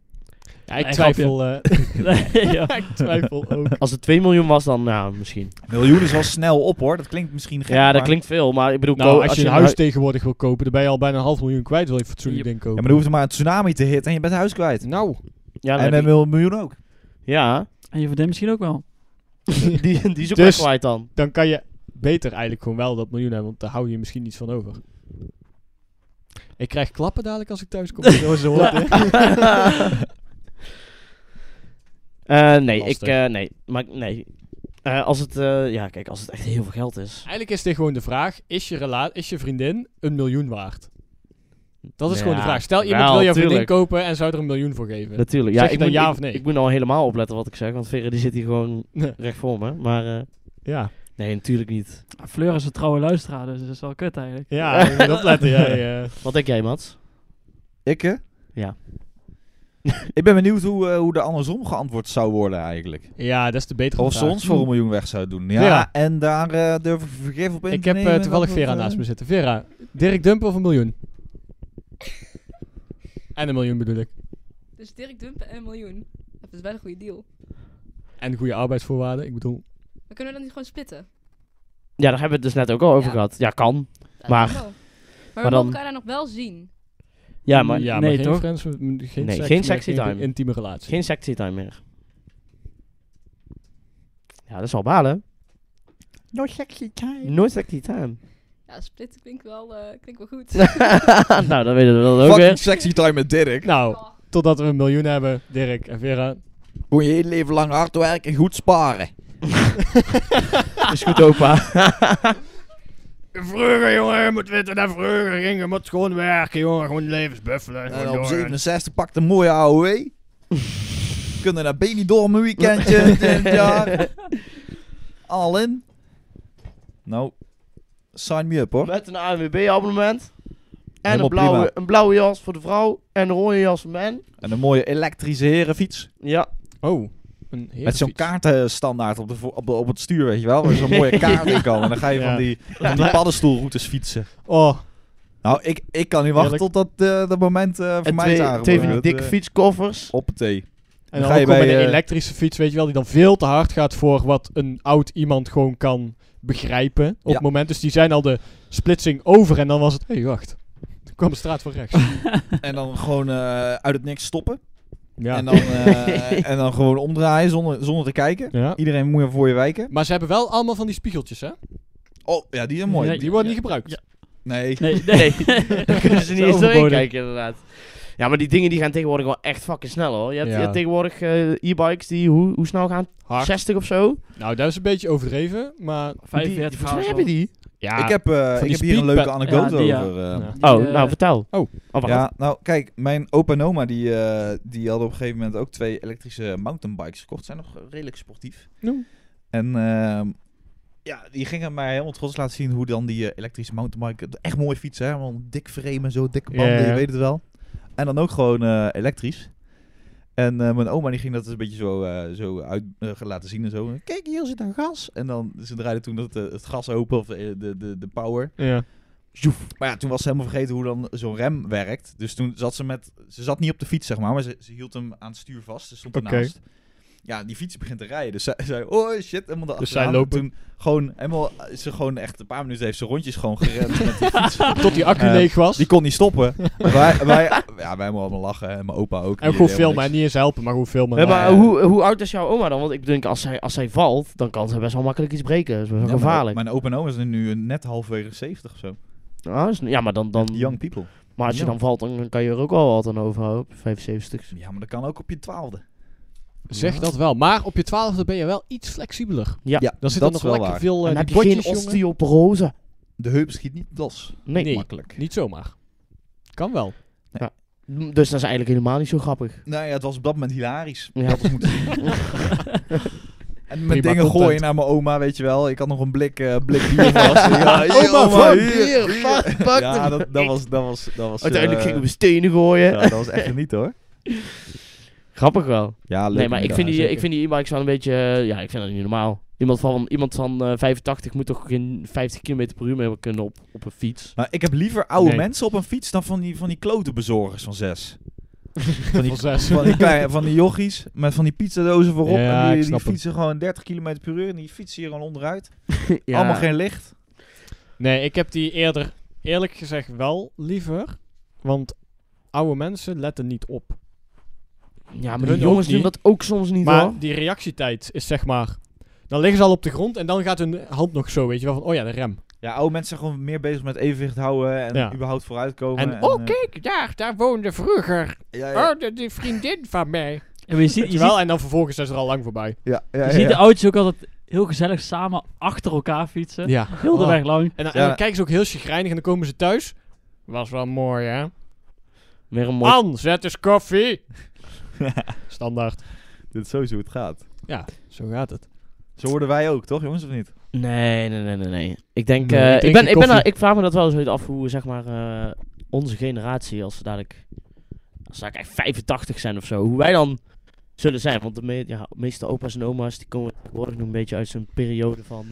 Speaker 2: Ja, ik
Speaker 1: Nee,
Speaker 2: twijfel, eh,
Speaker 1: Nee, ja.
Speaker 2: ik twijfel ook.
Speaker 3: Als het 2 miljoen was, dan nou, misschien.
Speaker 4: Miljoen is wel snel op, hoor. Dat klinkt misschien gek,
Speaker 3: Ja, dat
Speaker 4: maar-
Speaker 3: klinkt veel, maar ik bedoel... ko-
Speaker 2: Nou, als je een huis
Speaker 3: hui-
Speaker 2: tegenwoordig wil kopen, dan ben je al bijna een half miljoen kwijt. Wil je fatsoenlijk
Speaker 1: Yep.
Speaker 2: ding
Speaker 4: Ja,
Speaker 2: kopen.
Speaker 4: maar er hoeft er maar een tsunami te hitten en je bent het huis kwijt.
Speaker 2: Nou,
Speaker 3: Ja, dan
Speaker 4: en
Speaker 3: heb
Speaker 4: een
Speaker 3: je-
Speaker 4: mil- miljoen ook.
Speaker 3: ja.
Speaker 1: En je vriendin misschien ook wel.
Speaker 3: die, die is ook
Speaker 2: Dus-
Speaker 3: wel kwijt dan.
Speaker 2: dan kan je beter eigenlijk gewoon wel dat miljoen hebben, want daar hou je misschien niet van over. Ik krijg klappen dadelijk als ik thuis kom. Zo zo hoort, hè?
Speaker 3: Eh, nee, ik...
Speaker 2: Lastig.
Speaker 3: eh, nee, maar nee. Eh, als het... eh, ja, kijk, als het echt heel veel geld is...
Speaker 2: Eigenlijk is dit gewoon de vraag: is je, rela- is je vriendin een miljoen waard? Dat is gewoon de
Speaker 3: Ja,
Speaker 2: vraag. Stel, iemand
Speaker 3: wel,
Speaker 2: wil jouw vriendin
Speaker 3: tuurlijk.
Speaker 2: kopen en zou er een miljoen voor geven.
Speaker 3: Natuurlijk.
Speaker 2: Zeg
Speaker 3: Ja,
Speaker 2: je
Speaker 3: ik
Speaker 2: dan
Speaker 3: moet,
Speaker 2: ja
Speaker 3: ik-
Speaker 2: of nee?
Speaker 3: Ik moet nou helemaal opletten wat ik zeg, want Verre die zit hier gewoon recht voor me. Maar eh,
Speaker 2: ja,
Speaker 3: nee, natuurlijk niet.
Speaker 1: Ah, Fleur is een trouwe luisteraar, dus dat is wel kut eigenlijk.
Speaker 2: ja, je moet opletten. Jij, eh.
Speaker 3: Wat denk jij, Mats?
Speaker 4: Ik, hè?
Speaker 3: Ja.
Speaker 4: ik ben benieuwd hoe, eh, hoe de andersom geantwoord zou worden eigenlijk.
Speaker 2: ja, dat is de betere
Speaker 4: Of
Speaker 2: vraag.
Speaker 4: ze ons voor een miljoen weg zou doen. Ja,
Speaker 2: Ja.
Speaker 4: en daar eh, durf ik vergif op in
Speaker 2: Ik
Speaker 4: te
Speaker 2: heb eh,
Speaker 4: nemen
Speaker 2: toevallig
Speaker 4: dat-
Speaker 2: Vera
Speaker 4: eh,
Speaker 2: naast me zitten. Vera, Dirk Dumpen of een miljoen? en een miljoen bedoel ik.
Speaker 5: Dus Dirk Dumpen en een miljoen. Dat is wel een goede deal.
Speaker 2: En goede arbeidsvoorwaarden. Ik bedoel,
Speaker 5: Maar kunnen we dat niet gewoon splitten?
Speaker 3: Ja, daar hebben we het dus net ook al over
Speaker 5: Ja.
Speaker 3: gehad. Ja, kan.
Speaker 5: Ja,
Speaker 3: Maar-
Speaker 5: dat kan wel. maar
Speaker 3: maar dan-
Speaker 5: we mogen elkaar daar nog wel zien.
Speaker 3: Ja, maar
Speaker 2: ja, maar
Speaker 1: nee,
Speaker 2: geen
Speaker 1: toch?
Speaker 2: friends, mm, geen
Speaker 3: Nee,
Speaker 2: seks
Speaker 3: geen
Speaker 2: meer,
Speaker 3: sexy
Speaker 2: geen
Speaker 3: time.
Speaker 2: intieme relatie.
Speaker 3: geen sexy time meer. Ja, dat is wel balen.
Speaker 2: no sexy time.
Speaker 3: Nooit sexy time.
Speaker 5: Ja, splitten klinkt wel, eh, klinkt wel goed.
Speaker 3: nou, dan weten we dat ook
Speaker 4: Fucking
Speaker 3: weer.
Speaker 4: sexy time met Dirk.
Speaker 2: Nou, totdat we een miljoen hebben, Dirk en Vera.
Speaker 4: Moet je hele leven lang hard werken en goed sparen.
Speaker 3: Is goed, opa.
Speaker 2: Vroeger, jongen, moet weten naar vroeger gingen. Moet gewoon werken, jongen. Gewoon levensbuffelen.
Speaker 4: En nou, op 67 pakt een mooie AOW. Kunnen naar Benidorm een weekendje in het jaar. All in. Nou, sign me up hoor.
Speaker 3: Met een ANWB-abonnement. En
Speaker 4: Helemaal
Speaker 3: een blauwe,
Speaker 4: prima.
Speaker 3: een blauwe jas voor de vrouw. En een rode jas voor men.
Speaker 4: En een mooie elektrische herenfiets.
Speaker 3: Ja.
Speaker 2: Oh, een
Speaker 4: Met zo'n kaartenstandaard op, de vo- op, de- op het stuur, weet je wel. Waar zo'n mooie kaart in kan. En dan ga je
Speaker 2: Ja.
Speaker 4: van, die, van die paddenstoelroutes fietsen.
Speaker 2: Oh,
Speaker 4: Nou, ik, ik kan niet wachten
Speaker 2: Heerlijk.
Speaker 4: tot dat, eh, dat moment eh voor
Speaker 3: En
Speaker 4: mij is
Speaker 3: twee, twee van die
Speaker 4: aangebroken.
Speaker 3: dikke
Speaker 4: Dat, eh,
Speaker 3: fietskoffers.
Speaker 4: Op het thee.
Speaker 2: En dan,
Speaker 4: ga je
Speaker 2: ook gewoon
Speaker 4: bij,
Speaker 2: met een
Speaker 4: eh,
Speaker 2: elektrische fiets, weet je wel, die dan veel te hard gaat voor wat een oud iemand gewoon kan begrijpen op
Speaker 4: Ja.
Speaker 2: het moment. Dus die zijn al de splitsing over en dan was het, hé, hey, wacht. Toen kwam de straat van rechts.
Speaker 4: En dan gewoon eh, uit het niks stoppen.
Speaker 2: ja.
Speaker 4: En, dan, eh, en dan gewoon omdraaien zonder, zonder te kijken.
Speaker 2: ja.
Speaker 4: Iedereen moet er voor je wijken.
Speaker 2: Maar ze hebben wel allemaal van die spiegeltjes, hè?
Speaker 4: Oh, ja, die zijn mooi.
Speaker 1: Ja,
Speaker 2: Die worden
Speaker 1: ja,
Speaker 2: niet gebruikt.
Speaker 1: ja.
Speaker 4: Nee.
Speaker 1: Nee,
Speaker 3: Nee, daar kunnen ze niet eens doorheen
Speaker 2: Overbodig.
Speaker 3: kijken inderdaad. Ja, maar die dingen die gaan tegenwoordig wel echt fucking snel hoor. Je hebt, je
Speaker 2: Ja.
Speaker 3: hebt tegenwoordig eh, e-bikes die hoe, hoe snel gaan?
Speaker 2: Hard.
Speaker 3: 60 of zo?
Speaker 2: Nou, dat is een beetje overdreven, maar...
Speaker 1: 45
Speaker 3: Volgens mij
Speaker 1: graden
Speaker 3: hebben die.
Speaker 2: Ja,
Speaker 4: ik heb, eh, ik
Speaker 2: die
Speaker 4: heb hier een leuke
Speaker 2: speedpad-
Speaker 4: anekdote
Speaker 1: Ja, die, ja.
Speaker 4: over. eh.
Speaker 2: Ja.
Speaker 1: Die,
Speaker 3: Oh,
Speaker 1: eh,
Speaker 3: nou vertel.
Speaker 2: Oh.
Speaker 3: oh wacht.
Speaker 4: Ja, nou kijk, mijn opa en oma die, eh, die hadden op een gegeven moment ook twee elektrische mountainbikes gekocht. Zijn nog redelijk sportief.
Speaker 2: Nou.
Speaker 4: En ehm, ja, die gingen mij helemaal trots laten zien hoe dan die eh, elektrische mountainbike... Echt mooi fietsen, hè? Helemaal dik frame en zo, dikke banden,
Speaker 2: Ja.
Speaker 4: je weet het wel. En dan ook gewoon eh, elektrisch. En eh, mijn oma die ging dat een beetje zo, eh, zo uit eh, laten zien en zo. Kijk, hier zit een gas. En dan, ze draaiden toen dat, eh, het gas open of eh, de, de, de power.
Speaker 2: Ja.
Speaker 4: Joef. Maar ja, toen was ze helemaal vergeten hoe dan zo'n rem werkt. Dus toen zat ze met... Ze zat niet op de fiets, zeg maar, maar ze, ze hield hem aan het stuur vast. Ze stond
Speaker 2: Oké.
Speaker 4: ernaast. Ja, die fiets begint te rijden. Dus zij zei, oh shit, helemaal de
Speaker 2: Dus zij lopen.
Speaker 4: Toen gewoon helemaal... eh, Ze gewoon echt een paar minuten heeft ze rondjes gewoon gerend met die fiets.
Speaker 2: Tot die accu
Speaker 4: Eh,
Speaker 2: leeg was.
Speaker 4: Die kon niet stoppen. wij, wij, ja, wij moesten allemaal lachen. En mijn opa ook.
Speaker 2: en
Speaker 4: Die
Speaker 2: gewoon
Speaker 4: deed helemaal
Speaker 2: filmen, en niet eens helpen, maar gewoon filmen.
Speaker 3: Nee, maar
Speaker 4: eh,
Speaker 3: hoe, hoe oud is jouw oma dan? Want ik denk, als zij, als zij valt, dan kan ze best wel makkelijk iets breken. Dat is best wel
Speaker 4: niks. Ja, mijn-
Speaker 3: gevaarlijk.
Speaker 4: Mijn opa en oma zijn nu eh, net halverwege 70 of
Speaker 2: Mm.
Speaker 4: zo.
Speaker 3: Ah, is- ja, maar dan... dan
Speaker 4: Young people.
Speaker 3: maar als je
Speaker 4: young.
Speaker 3: dan valt, dan dan kan je er ook wel wat aan overhouden. 75.
Speaker 4: Ja, maar dat kan ook op je twaalfde.
Speaker 2: Zeg dat wel. Maar op je twaalfde ben je wel iets flexibeler.
Speaker 3: Ja,
Speaker 2: Dan zit
Speaker 4: dat
Speaker 2: er
Speaker 4: is
Speaker 2: nog
Speaker 4: wel
Speaker 2: lekker
Speaker 4: waar.
Speaker 2: veel eh,
Speaker 3: En
Speaker 2: die
Speaker 3: heb je geen
Speaker 2: botjes, jongen.
Speaker 3: osteoporose.
Speaker 4: De heup schiet niet los.
Speaker 3: Nee,
Speaker 2: Nee.
Speaker 3: makkelijk.
Speaker 2: Niet zomaar. Kan wel.
Speaker 3: M, Dus dat is eigenlijk helemaal niet zo grappig.
Speaker 4: Nou ja, het was op dat moment hilarisch.
Speaker 3: Ja.
Speaker 4: Je had het moeten zien. En met
Speaker 2: Prima
Speaker 4: dingen
Speaker 2: content.
Speaker 4: gooien naar mijn oma, weet je wel. Ik had nog een blik, eh blik bier vast. hier,
Speaker 2: Oma, fuck,
Speaker 4: hier,
Speaker 3: bier,
Speaker 4: hier.
Speaker 3: fuck, pak
Speaker 4: Ja,
Speaker 3: hem.
Speaker 4: dat, dat was... Dat was, dat was
Speaker 3: Uiteindelijk
Speaker 4: eh,
Speaker 3: ging ik op stenen gooien.
Speaker 4: ja, dat was echt niet hoor.
Speaker 3: Grappig wel.
Speaker 4: Ja, leuk.
Speaker 3: Nee, maar ik
Speaker 4: inderdaad.
Speaker 3: vind, die,
Speaker 2: zeker.
Speaker 3: ik vind die e-bikes wel een beetje... eh, ja, ik vind dat niet normaal. Iemand van, iemand van eh, 85 moet toch geen 50 km per uur meer kunnen op, op een fiets.
Speaker 4: Maar ik heb liever oude
Speaker 2: Nee.
Speaker 4: mensen op een fiets dan van die, van die klote bezorgers van zes. Van die,
Speaker 2: Van zes.
Speaker 4: van die, kleine- van die jochies met van die pizzadozen voorop.
Speaker 2: Ja,
Speaker 4: en
Speaker 2: ik
Speaker 4: die, die
Speaker 2: snap hem.
Speaker 4: fietsen gewoon 30 km per uur. En die fietsen hier gewoon onderuit.
Speaker 3: Ja.
Speaker 4: Allemaal geen licht.
Speaker 2: Nee, ik heb die eerder eerlijk gezegd wel liever. Want oude mensen letten niet op.
Speaker 3: Ja, maar die
Speaker 2: Hun
Speaker 3: jongens
Speaker 2: ook niet.
Speaker 3: doen dat ook soms niet
Speaker 2: maar
Speaker 3: hoor.
Speaker 2: die reactietijd is zeg maar... Dan liggen ze al op de grond en dan gaat hun hand nog zo, weet je wel. Van, oh ja, de rem.
Speaker 4: Ja, oude mensen zijn gewoon meer bezig met evenwicht houden en
Speaker 2: Ja.
Speaker 4: überhaupt vooruitkomen.
Speaker 2: En,
Speaker 4: eh,
Speaker 2: oh kijk, daar, daar woonde vroeger.
Speaker 4: ja, ja,
Speaker 2: Oh, de- die vriendin van mij.
Speaker 1: En je
Speaker 2: Weet
Speaker 1: ziet, je
Speaker 2: je
Speaker 1: ziet,
Speaker 2: wel, en dan vervolgens is er al lang voorbij.
Speaker 4: ja, ja,
Speaker 1: je
Speaker 4: ja,
Speaker 1: ziet de
Speaker 4: ja.
Speaker 1: oudjes ook altijd heel gezellig samen achter elkaar fietsen.
Speaker 2: Ja.
Speaker 1: Heel de
Speaker 2: Oh.
Speaker 1: weg lang.
Speaker 2: En, dan- en
Speaker 4: Ja.
Speaker 2: dan kijken ze ook heel chagrijnig en dan komen ze thuis. Was wel mooi, hè?
Speaker 3: Weer een mooi...
Speaker 2: Man, zet eens koffie. Standaard.
Speaker 4: Dit is sowieso hoe het gaat.
Speaker 2: Ja, zo gaat het.
Speaker 4: Zo worden wij ook, toch jongens, of niet?
Speaker 3: Nee, nee, nee, nee, nee. Ik denk...
Speaker 2: Nee,
Speaker 3: eh,
Speaker 2: ik
Speaker 3: ik,
Speaker 2: drink
Speaker 3: ben,
Speaker 2: je
Speaker 3: ik, ben
Speaker 2: koffie.
Speaker 3: daar- ik vraag me dat wel eens ooit af hoe, zeg maar, eh, onze generatie, als ze dadelijk... Als ze dadelijk echt 85 zijn of zo, hoe wij dan zullen zijn. Want de me- ja, meeste opa's en oma's, die komen tegenwoordig nog een beetje uit zo'n periode van...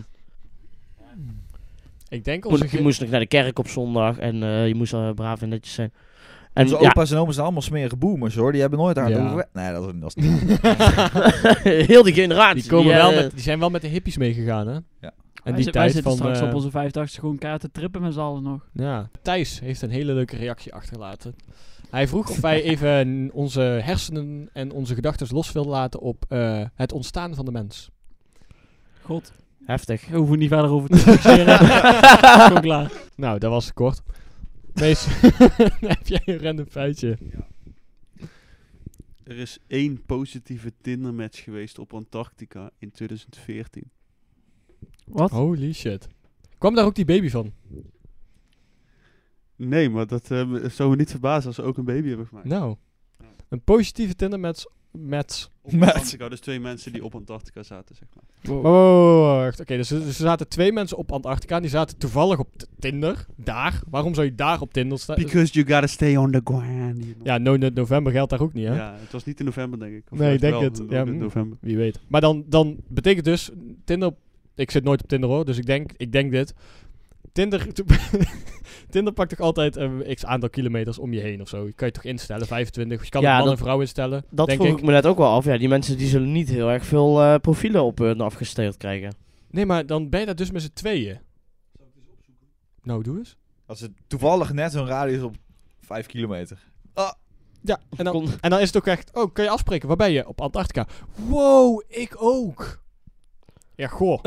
Speaker 2: Ik denk
Speaker 3: Moest-
Speaker 2: onze...
Speaker 3: je
Speaker 2: ge-
Speaker 3: moest nog naar de kerk op zondag en eh, je moest al braaf en netjes zijn. En
Speaker 4: Onze
Speaker 3: ja,
Speaker 4: opa's en oma's zijn allemaal smerige boomers hoor, die hebben nooit hard
Speaker 2: Ja.
Speaker 4: over... Nee, dat is, dat is niet...
Speaker 3: heel die generatie.
Speaker 2: die, komen
Speaker 3: die,
Speaker 2: wel
Speaker 3: eh,
Speaker 2: met, die zijn wel met de hippies meegegaan, hè?
Speaker 4: Ja.
Speaker 2: En
Speaker 1: wij,
Speaker 2: die
Speaker 1: zi- wij
Speaker 2: tijd
Speaker 1: zitten
Speaker 2: van...
Speaker 1: straks
Speaker 2: eh,
Speaker 1: op onze 85 gewoon kaarten trippen met z'n allen nog.
Speaker 2: ja. Thijs heeft een hele leuke reactie achtergelaten. Hij vroeg of wij even onze hersenen en onze gedachten los wilden laten op eh, het ontstaan van de mens.
Speaker 1: God,
Speaker 3: Heftig.
Speaker 1: we hoeven niet verder over te discussiëren. Is gewoon klaar.
Speaker 2: Nou, dat was kort. Mees, heb jij een random feitje?
Speaker 6: Er is één positieve Tinder-match geweest op Antarctica in 2014.
Speaker 1: Wat?
Speaker 2: Holy shit. Kwam daar ook die baby van?
Speaker 6: Nee, maar dat eh, zou me niet verbazen als ze ook een baby hebben gemaakt.
Speaker 2: Nou. Een positieve Tinder match. match.
Speaker 6: Op
Speaker 4: Maar-
Speaker 6: Antarctica, dus twee mensen die op Antarctica zaten, zeg maar.
Speaker 2: Wow, wow, wow, wacht. Oké, dus, er- dus er zaten twee mensen op Antarctica. en Die zaten toevallig op t- Tinder. Daar. Waarom zou je daar op Tinder staan?
Speaker 6: Because you gotta stay on the ground. you know.
Speaker 2: Ja, no, no- november geldt daar ook niet, hè?
Speaker 6: Ja, het was niet in november, denk ik. Of
Speaker 2: Nee, ik denk
Speaker 6: wel,
Speaker 2: het.
Speaker 6: in-
Speaker 2: Ja,
Speaker 6: in
Speaker 2: mm.
Speaker 6: november.
Speaker 2: Wie weet. Maar dan, dan betekent dus Tinder. Ik zit nooit op Tinder hoor, dus ik denk, ik denk dit. Tinder, Tinder pakt toch altijd een x aantal kilometers om je heen of zo. Je kan je toch instellen, 25. Je kan
Speaker 3: Ja,
Speaker 2: een man
Speaker 3: dat-
Speaker 2: en vrouw instellen.
Speaker 3: Dat
Speaker 2: denk
Speaker 3: vroeg ik.
Speaker 2: ik.
Speaker 3: me net ook wel af. Ja, die mensen die zullen niet heel erg veel eh, profielen op hun afgesteld krijgen.
Speaker 2: Nee, maar dan ben je daar dus met z'n tweeën. Nou, doe eens.
Speaker 4: Als het toevallig net zo'n radius op 5 kilometer.
Speaker 2: Ja, en dan,
Speaker 3: Kon-
Speaker 2: en dan is het ook echt... Oh, kan je afspreken? Waar ben je? Op Antarctica. Wow, ik ook. Ja, goh.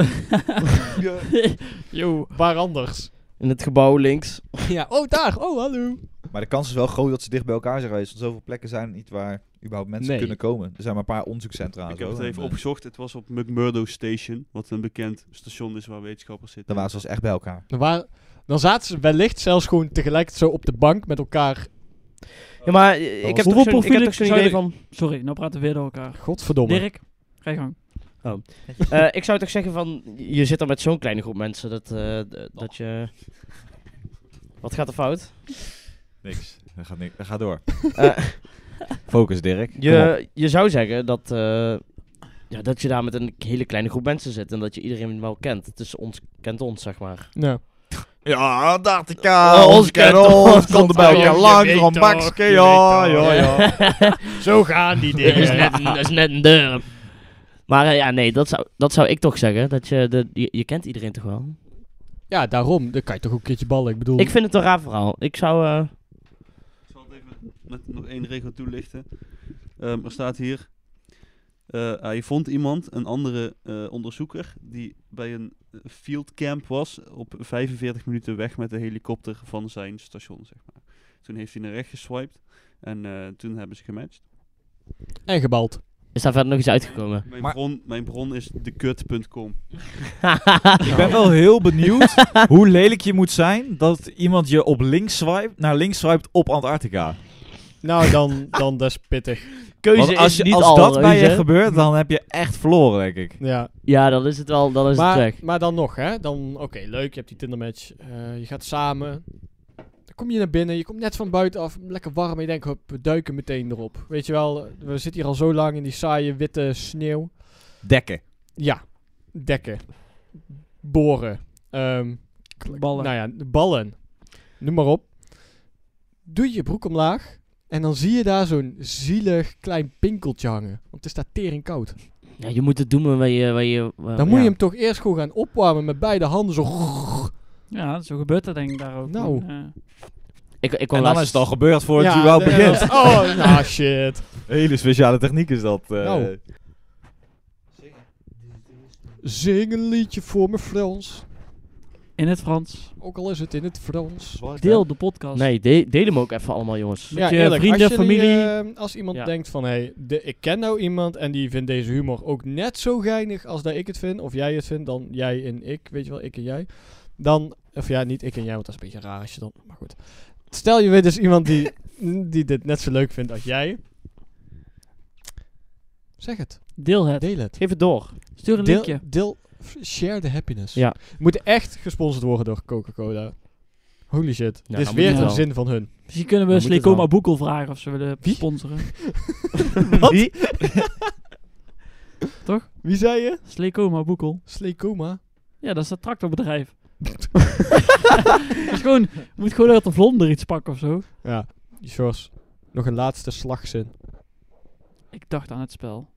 Speaker 2: Yo, waar anders?
Speaker 3: In het gebouw links.
Speaker 2: Ja, oh daar. Oh, hallo.
Speaker 4: Maar de kans is wel groot dat ze dicht bij elkaar zijn geweest. Want zoveel plekken zijn niet waar überhaupt mensen
Speaker 2: Nee.
Speaker 4: kunnen komen. Er zijn maar een paar
Speaker 2: hm.
Speaker 4: onderzoekscentra. en
Speaker 6: Ik heb
Speaker 4: zo.
Speaker 6: het even
Speaker 4: En, eh,
Speaker 6: opgezocht. Het was op McMurdo Station, wat een bekend station is waar wetenschappers zitten.
Speaker 4: Dan waren ze dus echt bij elkaar.
Speaker 2: Dan, wa- dan zaten ze wellicht zelfs gewoon tegelijk zo op de bank met elkaar.
Speaker 3: Ja, maar eh,
Speaker 4: was-
Speaker 3: ik heb toch
Speaker 1: Hoeveel
Speaker 3: zo'n ik heb
Speaker 1: profielen
Speaker 3: toch zo'n
Speaker 1: zou
Speaker 3: idee
Speaker 1: je-
Speaker 3: van...
Speaker 1: Sorry, nou praten we weer door elkaar.
Speaker 2: Godverdomme.
Speaker 1: Dirk, ga je gang.
Speaker 3: eh, ik zou toch zeggen van... Je zit er met zo'n kleine groep mensen dat, eh, d- dat je... Wat gaat er fout?
Speaker 4: Niks. Dat gaat, niks. dat gaat door.
Speaker 3: Eh,
Speaker 4: Focus, Dirk. Kom op.
Speaker 3: Je, je zou zeggen dat, eh, ja, dat je daar met een hele kleine groep mensen zit en dat je iedereen wel kent. Het is ons kent ons, zeg maar.
Speaker 2: Ja.
Speaker 4: Ja, dacht ik
Speaker 2: Oh,
Speaker 4: aan.
Speaker 3: ons kent ons,
Speaker 4: Konden bij
Speaker 3: ons
Speaker 4: elkaar
Speaker 2: kent
Speaker 4: langs.
Speaker 2: ons.
Speaker 4: Rond
Speaker 2: Je weet
Speaker 4: Maxke,
Speaker 2: toch,
Speaker 4: ja,
Speaker 2: je weet
Speaker 4: ja, ja.
Speaker 2: Zo gaan die
Speaker 3: dat, is net een, dat is net een dorp. Maar eh, ja, nee, dat zou, dat zou ik toch zeggen. Dat je, de, je, je kent iedereen toch wel?
Speaker 2: Ja, daarom. Dan kan je toch ook een keertje ballen. Ik bedoel...
Speaker 3: Ik vind het een raar verhaal. Ik zou... eh,
Speaker 6: Ik zal het even met nog één regel toelichten. Ehm, er staat hier... eh, hij vond iemand, een andere eh, onderzoeker, die bij een eh, fieldcamp was, op 45 minuten weg met de helikopter van zijn station, zeg maar. Toen heeft hij naar rechts geswiped en eh, toen hebben ze gematcht.
Speaker 2: En gebald.
Speaker 3: is daar verder nog iets uitgekomen?
Speaker 6: Mijn,
Speaker 4: Maar-
Speaker 6: bron, mijn bron is dekut.com.
Speaker 4: Ik ben wel heel benieuwd hoe lelijk je moet zijn dat iemand je op links swipe, naar links swipt op Antarctica.
Speaker 2: Nou, dan, dan dat is pittig.
Speaker 3: Keuze
Speaker 4: Want als
Speaker 3: is
Speaker 4: je,
Speaker 3: niet
Speaker 4: als
Speaker 3: al,
Speaker 4: dat bij
Speaker 3: weet
Speaker 4: je gebeurt, dan heb je echt verloren, denk ik.
Speaker 2: Ja.
Speaker 3: Ja, dan is het wel, dan is het
Speaker 2: Maar,
Speaker 3: weg.
Speaker 2: maar dan nog, hè. Dan, oké, leuk. Je hebt die Tindermatch. eh je gaat samen. Dan kom je naar binnen. Je komt net van buiten af. Lekker warm. En je denkt, hop, we duiken meteen erop. Weet je wel, we zitten hier al zo lang in die saaie witte sneeuw.
Speaker 4: Dekken.
Speaker 2: Ja. Dekken. Boren. Ehm, kl-
Speaker 1: Ballen.
Speaker 2: Nou ja, de ballen. Noem maar op. Doe je broek omlaag. En dan zie je daar zo'n zielig klein pinkeltje hangen. Want het is daar tering koud.
Speaker 3: Ja, je moet het doen waar je... Waar je waar-
Speaker 2: Dan
Speaker 3: ja.
Speaker 2: moet je hem toch eerst gewoon gaan opwarmen met beide handen. Zo.
Speaker 1: Ja, zo gebeurt dat denk ik daar ook.
Speaker 2: Nou.
Speaker 1: En, eh,
Speaker 3: Ik, ik kon
Speaker 4: En dan
Speaker 3: laatst-
Speaker 4: is het al gebeurd voordat je
Speaker 2: wel
Speaker 4: überhaupt begint.
Speaker 2: Oh, nou shit.
Speaker 4: Hele speciale techniek is dat. eh.
Speaker 2: Nou. Zing een liedje voor me Frans.
Speaker 1: in het Frans.
Speaker 2: Ook al is het in het Frans.
Speaker 1: Deel de podcast.
Speaker 3: Nee, de- deel hem ook even allemaal, jongens.
Speaker 1: Met je vrienden,
Speaker 2: als jullie,
Speaker 1: familie.
Speaker 2: eh, als iemand
Speaker 3: Ja.
Speaker 2: denkt van, hé, de- ik ken nou iemand en die vindt deze humor ook net zo geinig als dat ik het vind. Of jij het vindt, dan jij en ik, weet je wel, ik en jij. Dan, of ja, niet ik en jij, want dat is een beetje raar als je dan, maar goed. Stel je weet dus iemand die, die dit net zo leuk vindt als jij. Zeg het,
Speaker 1: Deel het.
Speaker 2: deel het.
Speaker 3: Geef het door.
Speaker 1: Stuur een
Speaker 2: Deel,
Speaker 1: linkje.
Speaker 2: deel, f- share the happiness.
Speaker 3: Ja.
Speaker 2: We moeten echt gesponsord worden door Coca-Cola. Holy shit.
Speaker 3: Ja,
Speaker 2: Dit is
Speaker 3: dan
Speaker 2: weer
Speaker 1: moet
Speaker 2: een
Speaker 1: het wel.
Speaker 2: zin van hun.
Speaker 1: Misschien kunnen we
Speaker 3: Dan moet het
Speaker 1: Slecoma
Speaker 3: wel.
Speaker 1: Boekel vragen of ze willen
Speaker 2: Wie?
Speaker 1: sponsoren.
Speaker 3: Wie?
Speaker 2: Wie zei je?
Speaker 1: Slecoma Boekel.
Speaker 2: Slekoma.
Speaker 1: Ja, dat is dat tractorbedrijf. Dat is gewoon, je moet gewoon uit de vlonder iets pakken of zo.
Speaker 2: Ja. Sjors, nog een laatste slagzin.
Speaker 1: Ik dacht aan het spel.